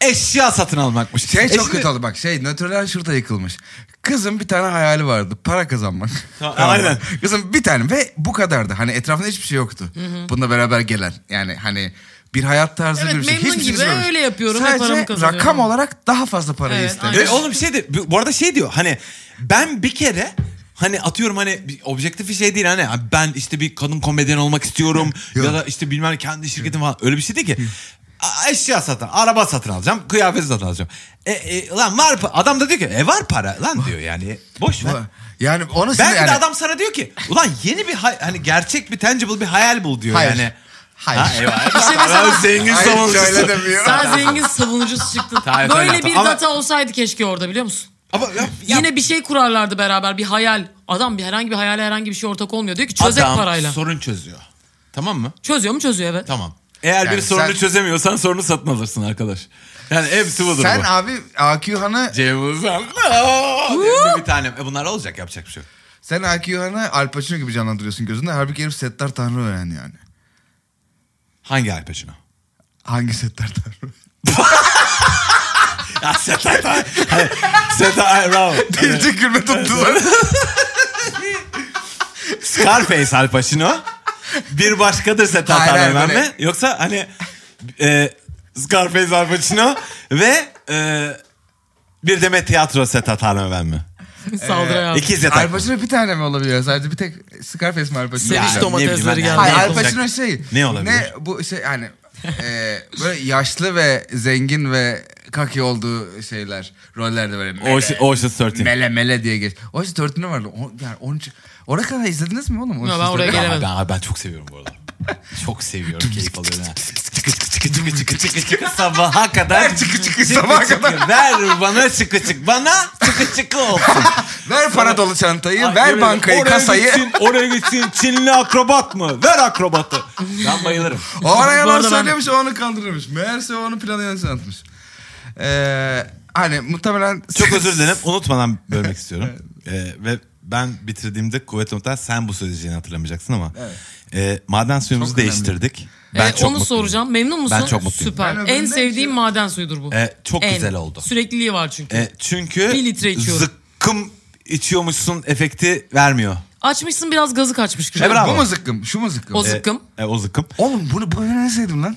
B: Eşya satın almakmış.
D: ay, şey
B: E
D: çok
B: şimdi-
D: kötü oldu bak şey Nötren Han şurada yıkılmış. Kızın bir tane hayali vardı. Para kazanmak.
B: Tamam,
D: Tamam mı?
B: aynen.
D: Kızım bir tane ve bu kadardı. Hani etrafında hiçbir şey yoktu. Bununla beraber gelen. Yani hani bir hayat tarzı
C: Evet,
D: bir şey.
C: memnun
D: Hiçbir şey
C: gibi,
D: düşünmemiş.
C: öyle yapıyorum ve
D: Sadece
C: paramı kazanıyorum.
D: rakam olarak daha fazla parayı
C: Evet,
D: istemiş.
C: aynen.
B: E, oğlum şey de bu bu arada şey diyor hani ben bir kere hani atıyorum hani bir objektif bir şey değil hani ben işte bir kadın komedyen olmak istiyorum
D: Yok.
B: ya da işte bilmem ne, kendi şirketim var öyle bir şey değil ki. A- Eşya satın, araba satın alacağım, kıyafet satın alacağım. E, e, lan var pa- adam da diyor ki e var para lan diyor yani boş ver.
D: Yani onu siz
B: Belki
D: yani...
B: de adam sana diyor ki ulan yeni bir hay- hani gerçek bir tangible bir hayal bul diyor
D: Hayır.
B: yani.
D: Hayır.
B: Ha, eyvah. zengin
D: Hayır,
B: savunucusu.
D: şöyle demiyor.
C: Sen zengin savunucusu çıktın.
B: Tabii, tabii,
C: Böyle
B: tabii.
C: bir
B: Ama-
C: data olsaydı keşke orada biliyor musun?
B: Ama ya,
C: Yine bir şey kurarlardı beraber bir hayal. Adam bir herhangi bir hayale herhangi bir şey ortak olmuyor. Diyor ki çözek
B: adam
C: parayla.
B: sorun çözüyor. Tamam mı?
C: çözüyor mu çözüyor evet.
B: Tamam. Eğer
D: Yani
B: bir sorunu
D: sen-
B: çözemiyorsan sorunu satın alırsın arkadaş. Yani hepsi budur
D: Sen
B: bu.
D: abi AQ Han'ı
B: Cem Uzan. Aa! Benim bir tanem. E bunlar olacak yapacak bir şey yok.
D: sen AQ Han'ı Al Pacino gibi canlandırıyorsun gözünde. Halbuki herif Settar Tanrıören yani.
B: Hangi Al Pacino?
D: Hangi Settar Tanrı?
B: Ya Seta Hayır, Seta hayır, bravo.
D: Delice gülme tuttular.
B: Scarface Al Pacino. Bir başkadır Seta
D: Hayır, hayır,
B: Tanrı'dan
D: böyle-
B: mi? Yoksa hani e, Scarface Al Pacino ve e, bir deme tiyatro Seta Tanrı'dan mi?
C: Saldırı abi.
B: İkiz yatak.
D: Al
B: mı?
D: Pacino bir tane mi olabiliyor? Sadece bir tek Scarface mi Al Pacino?
B: Ya,
C: Sevinç
B: ne
C: domatesleri
B: bileyim hani ben,
C: geldi.
D: Hayır
B: ne
D: Al
B: olacak?
D: Pacino şey.
B: Ne olabilir?
D: Ne bu şey yani e, böyle yaşlı ve zengin ve kaki olduğu şeyler rollerde böyle mele,
B: Ocean- Ocean's 13.
D: mele mele diye geç. Ocean's 13'ü vardı. O, yani 13. Oraya kadar izlediniz mi oğlum? şey Ocean's
C: ben oraya
D: 13'ü?
C: gelemedim.
B: Ama ben, ben çok seviyorum bu arada. Çok seviyorum keyif alıyorum. ha. Çıkı çıkı çıkı çıkı çıkı çıkı sabaha kadar. Ver
D: çıkı çıkı sabaha kadar.
B: Ver bana çıkı çık bana çıkı çıkı olsun.
D: Ver para dolu çantayı,
B: Ay, yemin
D: ver
B: ederim,
D: bankayı,
B: oraya
D: kasayı.
B: Gitsin, oraya gitsin Çinli akrobat mı? Ver akrobatı. Ben bayılırım.
D: Oraya
C: Bu
D: var
C: arada ben-
D: söylemiş o onu kandırıyormuş. Meğerse o onun planı yanlış anlatmış. Ee, hani muhtemelen...
B: Çok özür dilerim. Unutmadan bölmek istiyorum. Ee, ve ben bitirdiğimde kuvvet muhtemelen sen bu söyleyeceğini hatırlamayacaksın ama. Ee, maden suyumuzu
D: Çok önemli.
B: değiştirdik.
C: Ee,
B: Ben
C: onu
B: çok mutluyum.
C: soracağım. Memnun musun?
B: Ben çok mutluyum.
D: Ben
C: Süper. En
D: öbüründen
C: sevdiğim
D: şey-
C: maden suyudur bu.
B: Ee, çok
C: En.
B: güzel oldu.
C: Sürekliliği var çünkü.
B: E, çünkü
C: Bir litre içiyorum.
B: zıkkım içiyormuşsun efekti vermiyor.
C: Açmışsın biraz gazı kaçmış gibi.
B: Evet. bravo.
D: Bu mu zıkkım? Şu mu zıkkım?
C: O zıkkım.
B: E, o zıkkım.
D: Oğlum bunu bu öğrenseydim lan.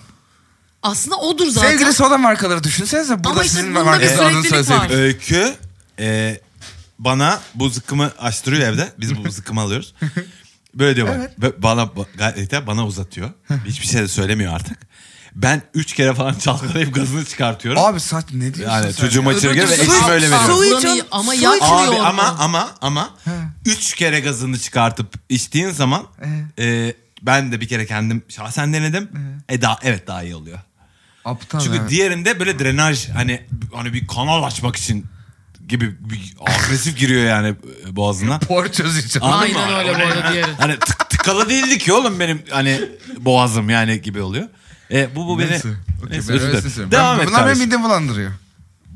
C: Aslında odur zaten.
D: Sevgili soda markaları düşünsenize. Burada
C: Ama işte
D: sizin
C: bunda bir
D: markanızı adını
C: süreklilik
D: söyleseydik.
C: var.
B: Öykü e, bana bu zıkkımı açtırıyor evde. Biz bu zıkkımı alıyoruz. Böyle diyor bana. Bö- Bana, ba- gayet de bana uzatıyor. Hiçbir şey de söylemiyor artık. Ben üç kere falan çalkalayıp gazını çıkartıyorum.
D: Abi saç ne diyorsun
B: yani
D: sen?
B: çocuğuma
C: Öbür
B: çırgın ve
C: türlü
B: eşime
C: su-
B: öyle veriyorum.
C: su
A: veriyorum.
C: içen- ama
A: Su içen-
C: yakmıyor
B: Abi
C: onu.
B: ama ama ama üç kere gazını çıkartıp içtiğin zaman e, ben de bir kere kendim şahsen denedim. E daha evet daha iyi oluyor.
D: Aptal
B: Çünkü
D: ha.
B: diğerinde böyle drenaj hani hani bir kanal açmak için gibi bir agresif giriyor yani e, boğazına.
D: Por çözeceğim.
B: Anladın
C: Aynen
B: mı?
C: öyle bu arada diğeri.
B: Hani tık tıkalı değildi ki oğlum benim hani boğazım yani gibi oluyor. E, bu bu beni
D: Neyse. Okey,
B: Neyse,
D: ben
B: özür
D: öylesini
B: dilerim.
D: söylüyorum.
B: Devam
D: Ben-
B: et
D: Bunlar benim
B: kardeşim.
D: midemi bulandırıyor.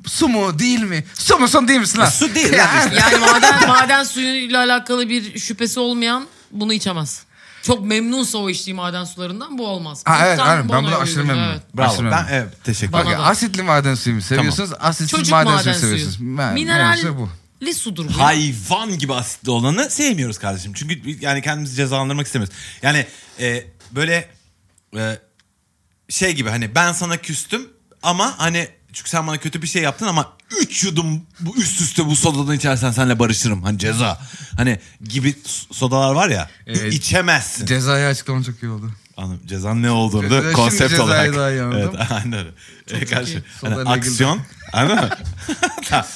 D: Su mu değil mi? Su musun değil misin lan?
B: E, Su değil lan işte.
C: Yani maden, maden suyuyla alakalı bir şüphesi olmayan bunu içemez. Çok memnunsa o içtiği maden sularından bu olmaz.
D: Ha, evet,
C: Tam
D: aynen. Ben
C: bana
D: buna aşırı
C: uygun,
D: memnunum.
C: evet.
B: Bravo.
D: Aşırı
B: Ben
D: memnunum.
B: evet teşekkür
C: Bana
B: ederim.
D: Bak,
C: da.
D: asitli maden suyu mu seviyorsunuz? Asitsiz
C: Çocuk
D: maden,
C: maden,
D: suyu
C: suyu.
D: seviyorsunuz.
C: Mineralli
D: bu.
C: sudur bu.
B: Hayvan gibi asitli olanı sevmiyoruz kardeşim. Çünkü biz yani kendimizi cezalandırmak istemiyoruz. Yani e, böyle e, şey gibi hani ben sana küstüm ama hani çünkü sen bana kötü bir şey yaptın ama üç yudum bu üst üste bu sodadan içersen seninle barışırım. Hani ceza. Hani gibi s- sodalar var ya
D: Ee,
B: içemezsin.
D: Cezayı açıklaman çok iyi oldu.
B: Anladım. Cezanın ne olduğunu
D: Ceza-
B: da
D: şimdi
B: konsept
D: cezayı
B: olarak.
D: daha iyi anladım.
B: Evet, aynen öyle. E, karşı.
D: Soda
B: Hani
D: ile ilgili.
B: aksiyon. Anladın mı?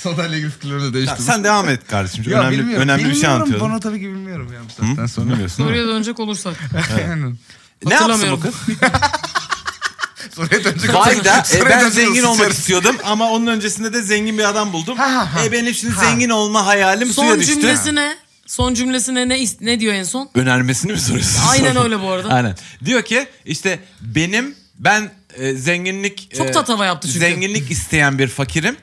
D: Soda ile ilgili fikirlerini
B: Ya
D: değiştirdim.
B: Sen devam et kardeşim. Çok
D: Ya
B: önemli
D: bilmiyorum.
B: önemli bir şey
D: Bilmiyorum,
B: anlatıyordun.
D: Bana tabii ki bilmiyorum ya bu saatten
B: Hı?
D: sonra.
B: Bilmiyorsun değil mi?
C: Soruya dönecek olursak.
D: Aynen.
B: Ne yapsın bu
C: Hatırlamıyorum.
B: kız?
D: Soruya dönecek.
B: Vay da e,
D: Soruya
B: ben
D: dönecek
B: zengin
D: olursak
B: olmak
D: içeriz.
B: istiyordum ama onun öncesinde de zengin bir adam buldum.
D: Ha, ha, ha.
B: E benim şimdi
D: Ha.
B: zengin olma hayalim suya
C: Son
B: düştü.
C: cümlesi ne? Son cümlesine ne, is- ne diyor en son?
B: Önermesini mi soruyorsun?
C: Aynen öyle bu arada.
B: Aynen. Diyor ki işte benim ben e, zenginlik
C: Çok tatava yaptı çünkü.
B: Zenginlik isteyen bir fakirim.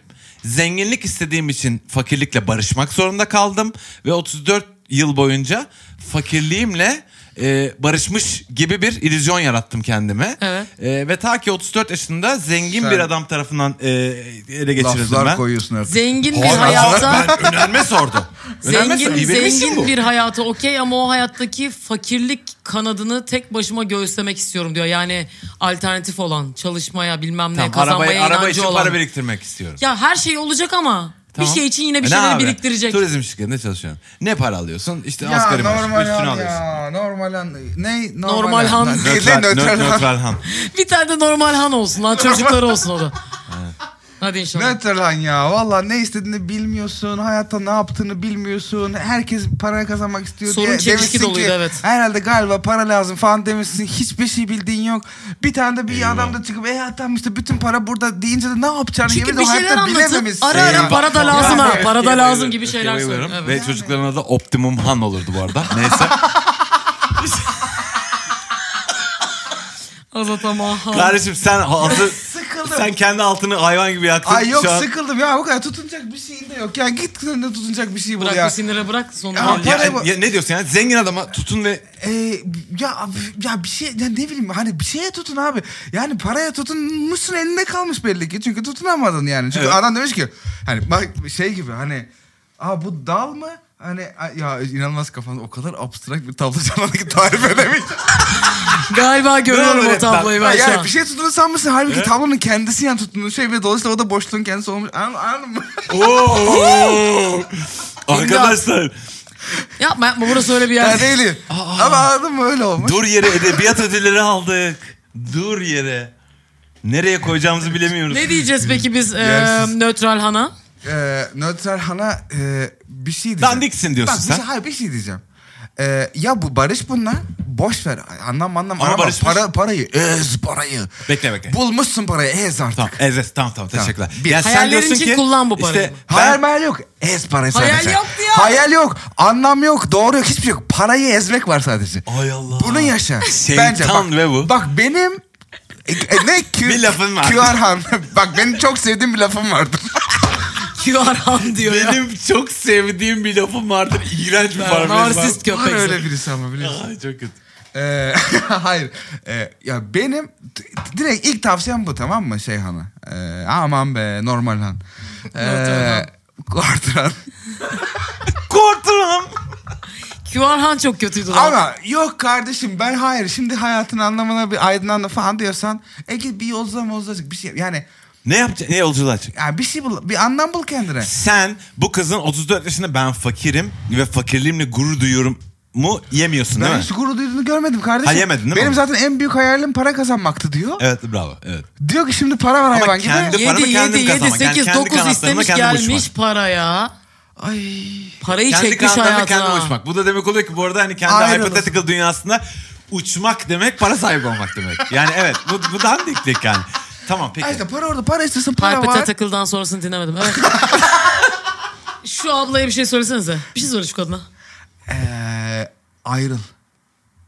B: Zenginlik istediğim için fakirlikle barışmak zorunda kaldım ve 34 yıl boyunca fakirliğimle e, barışmış gibi bir illüzyon yarattım kendime.
C: Evet.
B: E, ve ta ki 34 yaşında zengin
D: Sen-
B: bir adam tarafından e, ele geçirildim
D: Laflar
B: ben.
D: koyuyorsun artık.
C: Zengin bir
B: Hayır,
C: hayata...
B: ben önerme sordu. Önerme sordu.
C: Zengin,
B: İyi verir misin bu?
C: zengin bir hayatı okey ama o hayattaki fakirlik kanadını tek başıma göğüslemek istiyorum diyor. Yani alternatif olan çalışmaya bilmem ne
B: Tamam,
C: kazanmaya
B: arabayı, araba
C: inancı
B: için
C: olan.
B: para biriktirmek istiyorum.
C: Ya her şey olacak ama
B: Tamam.
C: bir şey için yine bir
B: E ne
C: şeyler
B: abi?
C: biriktirecek.
B: Turizm şirketinde çalışıyorum. Ne para alıyorsun? İşte
D: Ya
B: asgari maaş.
D: normal
B: Üstünü
D: han
B: alıyorsun.
D: ya. Normal han. Ne?
C: Normal han.
D: Lan değil,
B: Nötral,
D: nötral
B: nö-
D: han.
B: nötral han.
C: Bir tane de normal han olsun lan çocukları olsun o da. Hadi inşallah.
D: Ne lan ya valla ne istediğini bilmiyorsun hayatta ne yaptığını bilmiyorsun herkes para kazanmak istiyor
C: Sorun
D: diye
C: çelişki
D: demişsin
C: doluydu,
D: ki,
C: evet.
D: herhalde galiba para lazım falan demişsin hiçbir şey bildiğin yok bir tane de bir
B: Eyvah.
D: adam da çıkıp e adam işte bütün para burada deyince de ne yapacağını
C: Çünkü
D: yemin
C: bir
D: ediyorum
C: şeyler
D: hayatta
C: anlatıp
D: bilememişsin
C: ara
D: ya.
C: ara para da
D: Ya,
C: lazım ha.
D: evet.
C: Para da
B: Öfkeye
C: lazım
B: bayılırım.
C: gibi
B: Öfkeye
C: şeyler
B: bayılırım.
C: söylüyor.
B: Ve
C: Evet.
B: çocukların adı Optimum Han olurdu bu arada. Neyse.
C: Azat ama.
B: Kardeşim sen hazır...
D: Sıkıldım.
B: sen kendi altını hayvan gibi yaktın.
D: Ay yok
B: Şu an-
D: sıkıldım ya bu kadar tutunacak bir şeyin de yok ya git kendine tutunacak bir şey bul
C: Bırak
D: ya.
C: bu sinire bırak sonra.
D: Ya,
C: hallet.
B: Ya-
D: Para bu-
B: ya ne diyorsun yani? Zengin adama tutun ve
D: Ee, ya ya bir şey ya ne bileyim hani bir şeye tutun abi. Yani paraya tutunmuşsun elinde kalmış belli ki. Çünkü tutunamadın yani. Çünkü
B: Evet.
D: adam demiş ki hani bak şey gibi hani Aa bu dal mı? Hani a- ya inanılmaz kafanda o kadar abstrakt bir tablo canlandı ki tarif edemeyeceğim.
C: Galiba görüyorum o
B: öğretmen?
C: tabloyu ben şu
D: yani
C: an.
D: bir şey tuttuğunu sanmışsın. Halbuki tablonun kendisi yani tuttuğunu şey ve dolayısıyla o da boşluğun kendisi olmuş. Anladın, anladın mı?
B: Oo! Arkadaşlar
C: Yapma yapma burası öyle bir yer.
D: Yani
C: değil.
D: değil. Ama anladın mı öyle olmuş.
B: dur yere edebiyat ödülleri aldık. Dur yere. Nereye koyacağımızı bilemiyoruz.
C: Ne diyeceğiz peki biz e,
D: Yersiz.
C: nötral hana?
D: e, nötral hana e, bir şey diyeceğim.
B: Dandiksin diyorsun
D: Bak, bir
B: sen.
D: Şey, hayır bir şey diyeceğim. E, ya bu Barış bunlar boş ver anlam anlam
B: Ama
D: arama
B: Barış-
D: para parayı ez parayı
B: Bekle bekle.
D: bulmuşsun parayı ez artık.
B: Tamam, evet, tamam tamam
D: Tamam.
B: teşekkürler.
D: Bir-
B: Yani
C: Hayallerin için kullan bu parayı.
D: Hayal
B: ben-
D: meyal yok. Ez parayı
C: Hayal
D: sadece.
C: yok diyor.
D: Hayal yok. Anlam yok. Doğru yok. Hiçbir şey yok. Parayı ezmek var sadece.
B: Ay Allah.
D: Bunu yaşa.
B: Şeytan
D: bak,
B: ve bu.
D: Bak benim e, e, ne Q,
B: Bir lafın var.
D: QR han. bak benim çok sevdiğim bir lafım vardır.
C: QR han diyor ya.
B: Benim çok sevdiğim bir lafım vardır. İğrenç bir parfüm var.
C: Narsist
D: Var
C: köpek.
D: öyle birisi ama biliyorsun.
B: Ay çok kötü.
D: Ee, hayır. Ee, ya benim t- t- direkt ilk tavsiyem bu tamam mı şey hana? Ee, aman be normal han. Ee, Kortran.
B: Korktum.
C: QR han çok kötüydü. lan.
D: Ama yok kardeşim ben hayır şimdi hayatın anlamına bir aydınlanma falan diyorsan e git bir yolculuğa mozluğa çık bir şey yani,
B: Ne yapacaksın? Ne yolculuğa çık?
D: yani bir şey bul bir anlam bul kendine.
B: Sen bu kızın 34 yaşında ben fakirim ve fakirliğimle gurur duyuyorum mu yemiyorsun değil
D: Ben
B: mi?
D: hiç gurur duyduğunu görmedim kardeşim.
B: Ha, yemedin değil mi
D: Benim
B: onu?
D: zaten en büyük hayalim para kazanmaktı diyor.
B: Evet bravo. Evet.
D: Diyor ki şimdi para var hayvan gibi.
B: kendi-
C: Yedi,
B: paramı kendim
C: yedi, yedi,
B: kazanmak. Yani
C: sekiz,
B: kendi
C: dokuz
B: kanatlarımla
C: istemiş
B: kendim
C: gelmiş
B: uçmak.
C: paraya.
D: Ay.
C: Parayı
B: kendi
C: çekmiş
B: kanatlarına
C: hayatına.
B: kendi uçmak. Bu da demek oluyor ki bu arada hani kendi
D: Ayrılın.
B: hypothetical dünyasında uçmak demek para sahibi olmak demek. Yani evet bu, bu dandiklik yani. Tamam peki.
D: Ay işte para orada para istesin para
C: Harpete
D: var.
C: takıldan sonrasını dinlemedim. Evet. şu ablaya bir şey söylesenize. Bir şey söyle şu kadına.
D: Ee, ayrıl.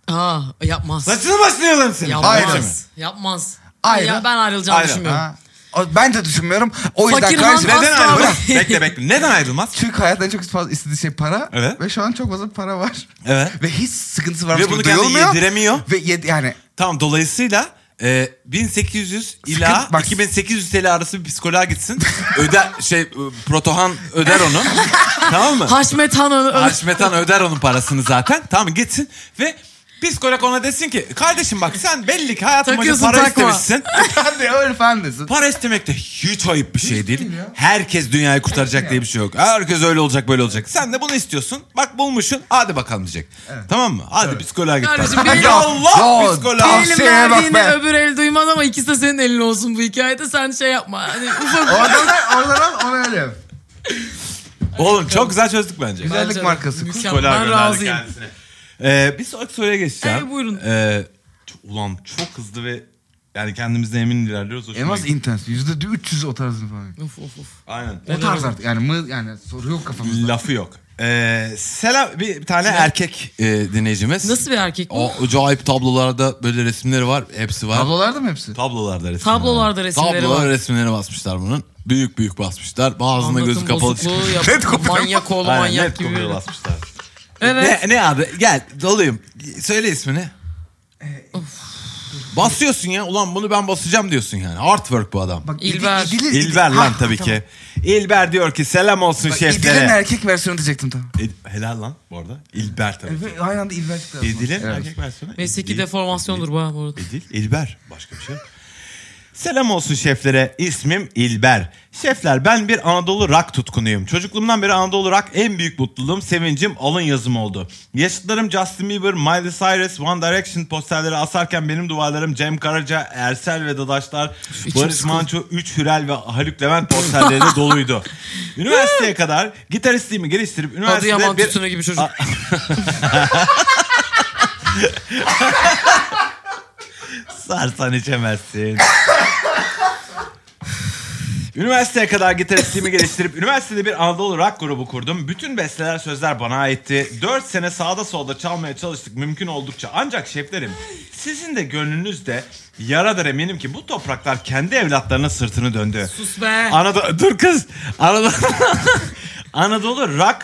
C: Aa yapmaz.
B: Saçını başlayalım senin.
C: Yapmaz.
D: Ayrı mı?
C: Yapmaz.
D: Ayrı.
C: Ya ben ayrılacağını
B: Ayrı.
C: düşünmüyorum.
D: Ha. O- Ben de düşünmüyorum. O yüzden
C: Fakir
D: kardeşim.
C: Han-
B: Neden
C: Asla
B: ayrılmaz?
C: bırak.
B: bekle bekle. Neden ayrılmaz?
D: Çünkü hayatta en çok fazla istediği şey para.
B: Evet.
D: Ve şu an çok fazla para var.
B: Evet.
D: Ve hiç sıkıntısı varmış
B: Ve bunu
D: gibi
B: kendi
D: duyulmuyor.
B: yediremiyor.
D: Ve yed- yani
B: Tamam dolayısıyla e, 1800 ila
D: Sıkıntı- bak-
B: 2800 TL arası bir psikoloğa gitsin. Öder şey e, Protohan öder onu. tamam mı?
C: Haşmet Han ö- ö-
B: Haşmetan öder onun parasını zaten. Tamam gitsin ve psikolog ona desin ki kardeşim bak sen belli ki hayatın boyunca
C: Takıyorsun,
B: para
C: takma."
B: istemişsin.
D: sen de öyle falan desin.
B: Para istemek de hiç ayıp bir şey değil.
D: değil ya.
B: Herkes dünyayı kurtaracak diye bir şey yok. Herkes öyle olacak böyle olacak. Sen de bunu istiyorsun. Bak bulmuşsun. Hadi bakalım diyecek. Tamam mı? Hadi psikoloğa git.
C: Kardeşim,
B: bak.
C: bir-
B: Ya Allah
D: Ya,
B: psikoloğa.
D: ya.
C: Bir elin
D: Tavsiyeye bak
C: verdiğini
D: be.
C: öbür el duymaz ama ikisi de senin elin olsun bu hikayede. Sen şey yapma. Hani ufak
D: Oradan al, oradan al, onu öyle. yap.
B: Oğlum çok güzel çözdük bence.
D: Güzellik
C: Bence de.
D: markası.
C: Mükemmel.
B: Psikoloğa
C: Ben
B: gönderdik
C: razıyım.
B: kendisine. Ee, bir sonraki soruya geçeceğim.
C: Ee, buyurun.
B: Ee, çok- ulan çok hızlı ve yani kendimizden emin ilerliyoruz. Hoşuma
D: Elmas
B: gitti.
D: intens. Yüzde 300 o tarz falan.
C: Of of of.
B: Aynen.
D: O tarz artık. Yani mı yani soru yok kafamızda.
B: Lafı yok. Ee, selam bir tane erkek e, dinleyicimiz.
C: Nasıl bir erkek bu?
B: O acayip tablolarda böyle resimleri var. Hepsi var.
D: Tablolarda mı hepsi?
B: Tablolarda resimleri
C: Tablolarda
B: var.
C: resimleri
B: Tablolara
C: var.
B: resimleri basmışlar bunun. Büyük büyük basmışlar. Bazında
C: Anlatım
B: gözü kapalı
C: bozukluğu
B: çıkmış.
C: yap-
D: Net kopuyor.
C: Manyak oğlu
B: Aynen,
C: manyak
B: net
C: gibi.
B: kopuyor basmışlar.
C: Evet.
B: Ne, ne abi? Gel doluyum. Söyle ismini. Basıyorsun ya. Ulan bunu ben basacağım diyorsun yani. Artwork bu adam.
D: Bak,
C: İlber.
D: İdil- İdil-
B: İlber
D: Ha,
B: lan
C: Ah,
B: tabii
D: tamam.
B: ki. İlber diyor ki selam olsun
D: Bak, İdil'in
B: şeflere.
D: erkek versiyonu diyecektim tamam.
B: İd- Helal lan bu arada. İlber tabii.
D: Ve Aynı anda İlber çıktı.
B: İdil'in
D: Evet.
B: erkek versiyonu.
C: Mesleki
B: İdil-
C: deformasyondur bu ha bu arada.
B: İdil, İlber. Başka bir şey yok. Selam olsun şeflere. İsmim İlber. Şefler ben bir Anadolu rock tutkunuyum. Çocukluğumdan beri Anadolu rock en büyük mutluluğum, sevincim, alın yazım oldu. Yaşıtlarım Justin Bieber, Miley Cyrus, One Direction posterleri asarken benim duvarlarım Cem Karaca, Ersel ve Dadaşlar,
C: içim
B: Barış
C: sıkıldı.
B: Manço, 3 Hürel ve Haluk Levent posterleriyle doluydu. Üniversiteye kadar gitaristliğimi geliştirip
C: Adı Yaman
B: üniversitede bir
C: Tütünü gibi çocuk.
B: Sarsan içemezsin. Üniversiteye kadar gitaristliğimi geliştirip üniversitede bir Anadolu rock grubu kurdum. Bütün besteler sözler bana aitti. 4 sene sağda solda çalmaya çalıştık mümkün oldukça. Ancak şeflerim sizin de gönlünüzde yaradır eminim ki bu topraklar kendi evlatlarına sırtını döndü.
C: Sus be.
B: Anadolu dur kız. Anadolu Anadolu rock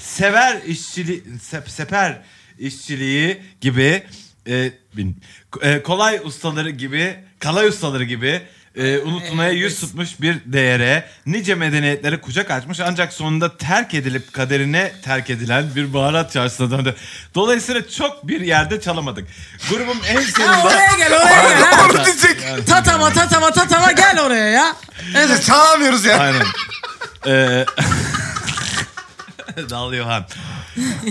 B: sever işçiliği sep- seper işçiliği gibi e, bin- e, kolay ustaları gibi kalay ustaları gibi e, unutulmaya yüz tutmuş bir değere nice medeniyetlere kucak açmış ancak sonunda terk edilip kaderine terk edilen bir baharat çarşısına döndü. Dolayısıyla çok bir yerde çalamadık. Grubum en
C: Ha,
B: sonunda
C: oraya gel oraya gel. ha.
D: Orada diyecek.
C: tatama tatama tatama gel oraya ya. Evet.
D: Çalamıyoruz ya.
B: Aynen. Ee, Dal Yohan.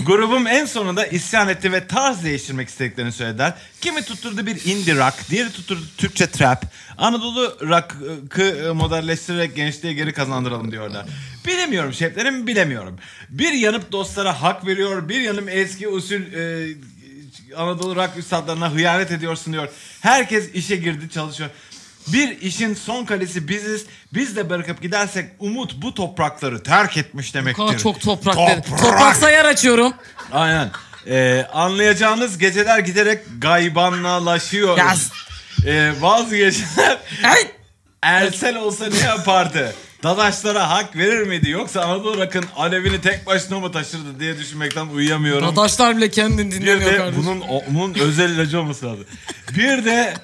B: Grubum en sonunda isyan etti ve tarz değiştirmek istediklerini söylediler. Kimi tutturdu bir indie rock, diğeri tutturdu Türkçe trap. Anadolu rock'ı modelleştirerek gençliğe geri kazandıralım diyorlar. Bilemiyorum şeflerim bilemiyorum. Bir yanıp dostlara hak veriyor, bir yanım eski usul e, Anadolu rock üstadlarına hıyanet ediyorsun diyor. Herkes işe girdi çalışıyor. Bir işin son kalesi biziz. Biz de bırakıp gidersek umut bu toprakları terk etmiş demektir.
C: Aa, çok toprak, dedi. Topraksa yer açıyorum.
B: Aynen. Ee, anlayacağınız geceler giderek gaybanlaşıyor.
C: Yaz.
B: Ee, bazı geceler
C: Ay.
B: Ersel olsa ne yapardı? Dadaşlara hak verir miydi? Yoksa Anadolu Rock'ın alevini tek başına mı taşırdı diye düşünmekten uyuyamıyorum.
C: Dadaşlar bile kendini
B: Bir
C: dinlemiyor
B: de
C: kardeşim.
B: bunun, o- bunun özel ilacı olması lazım. Bir de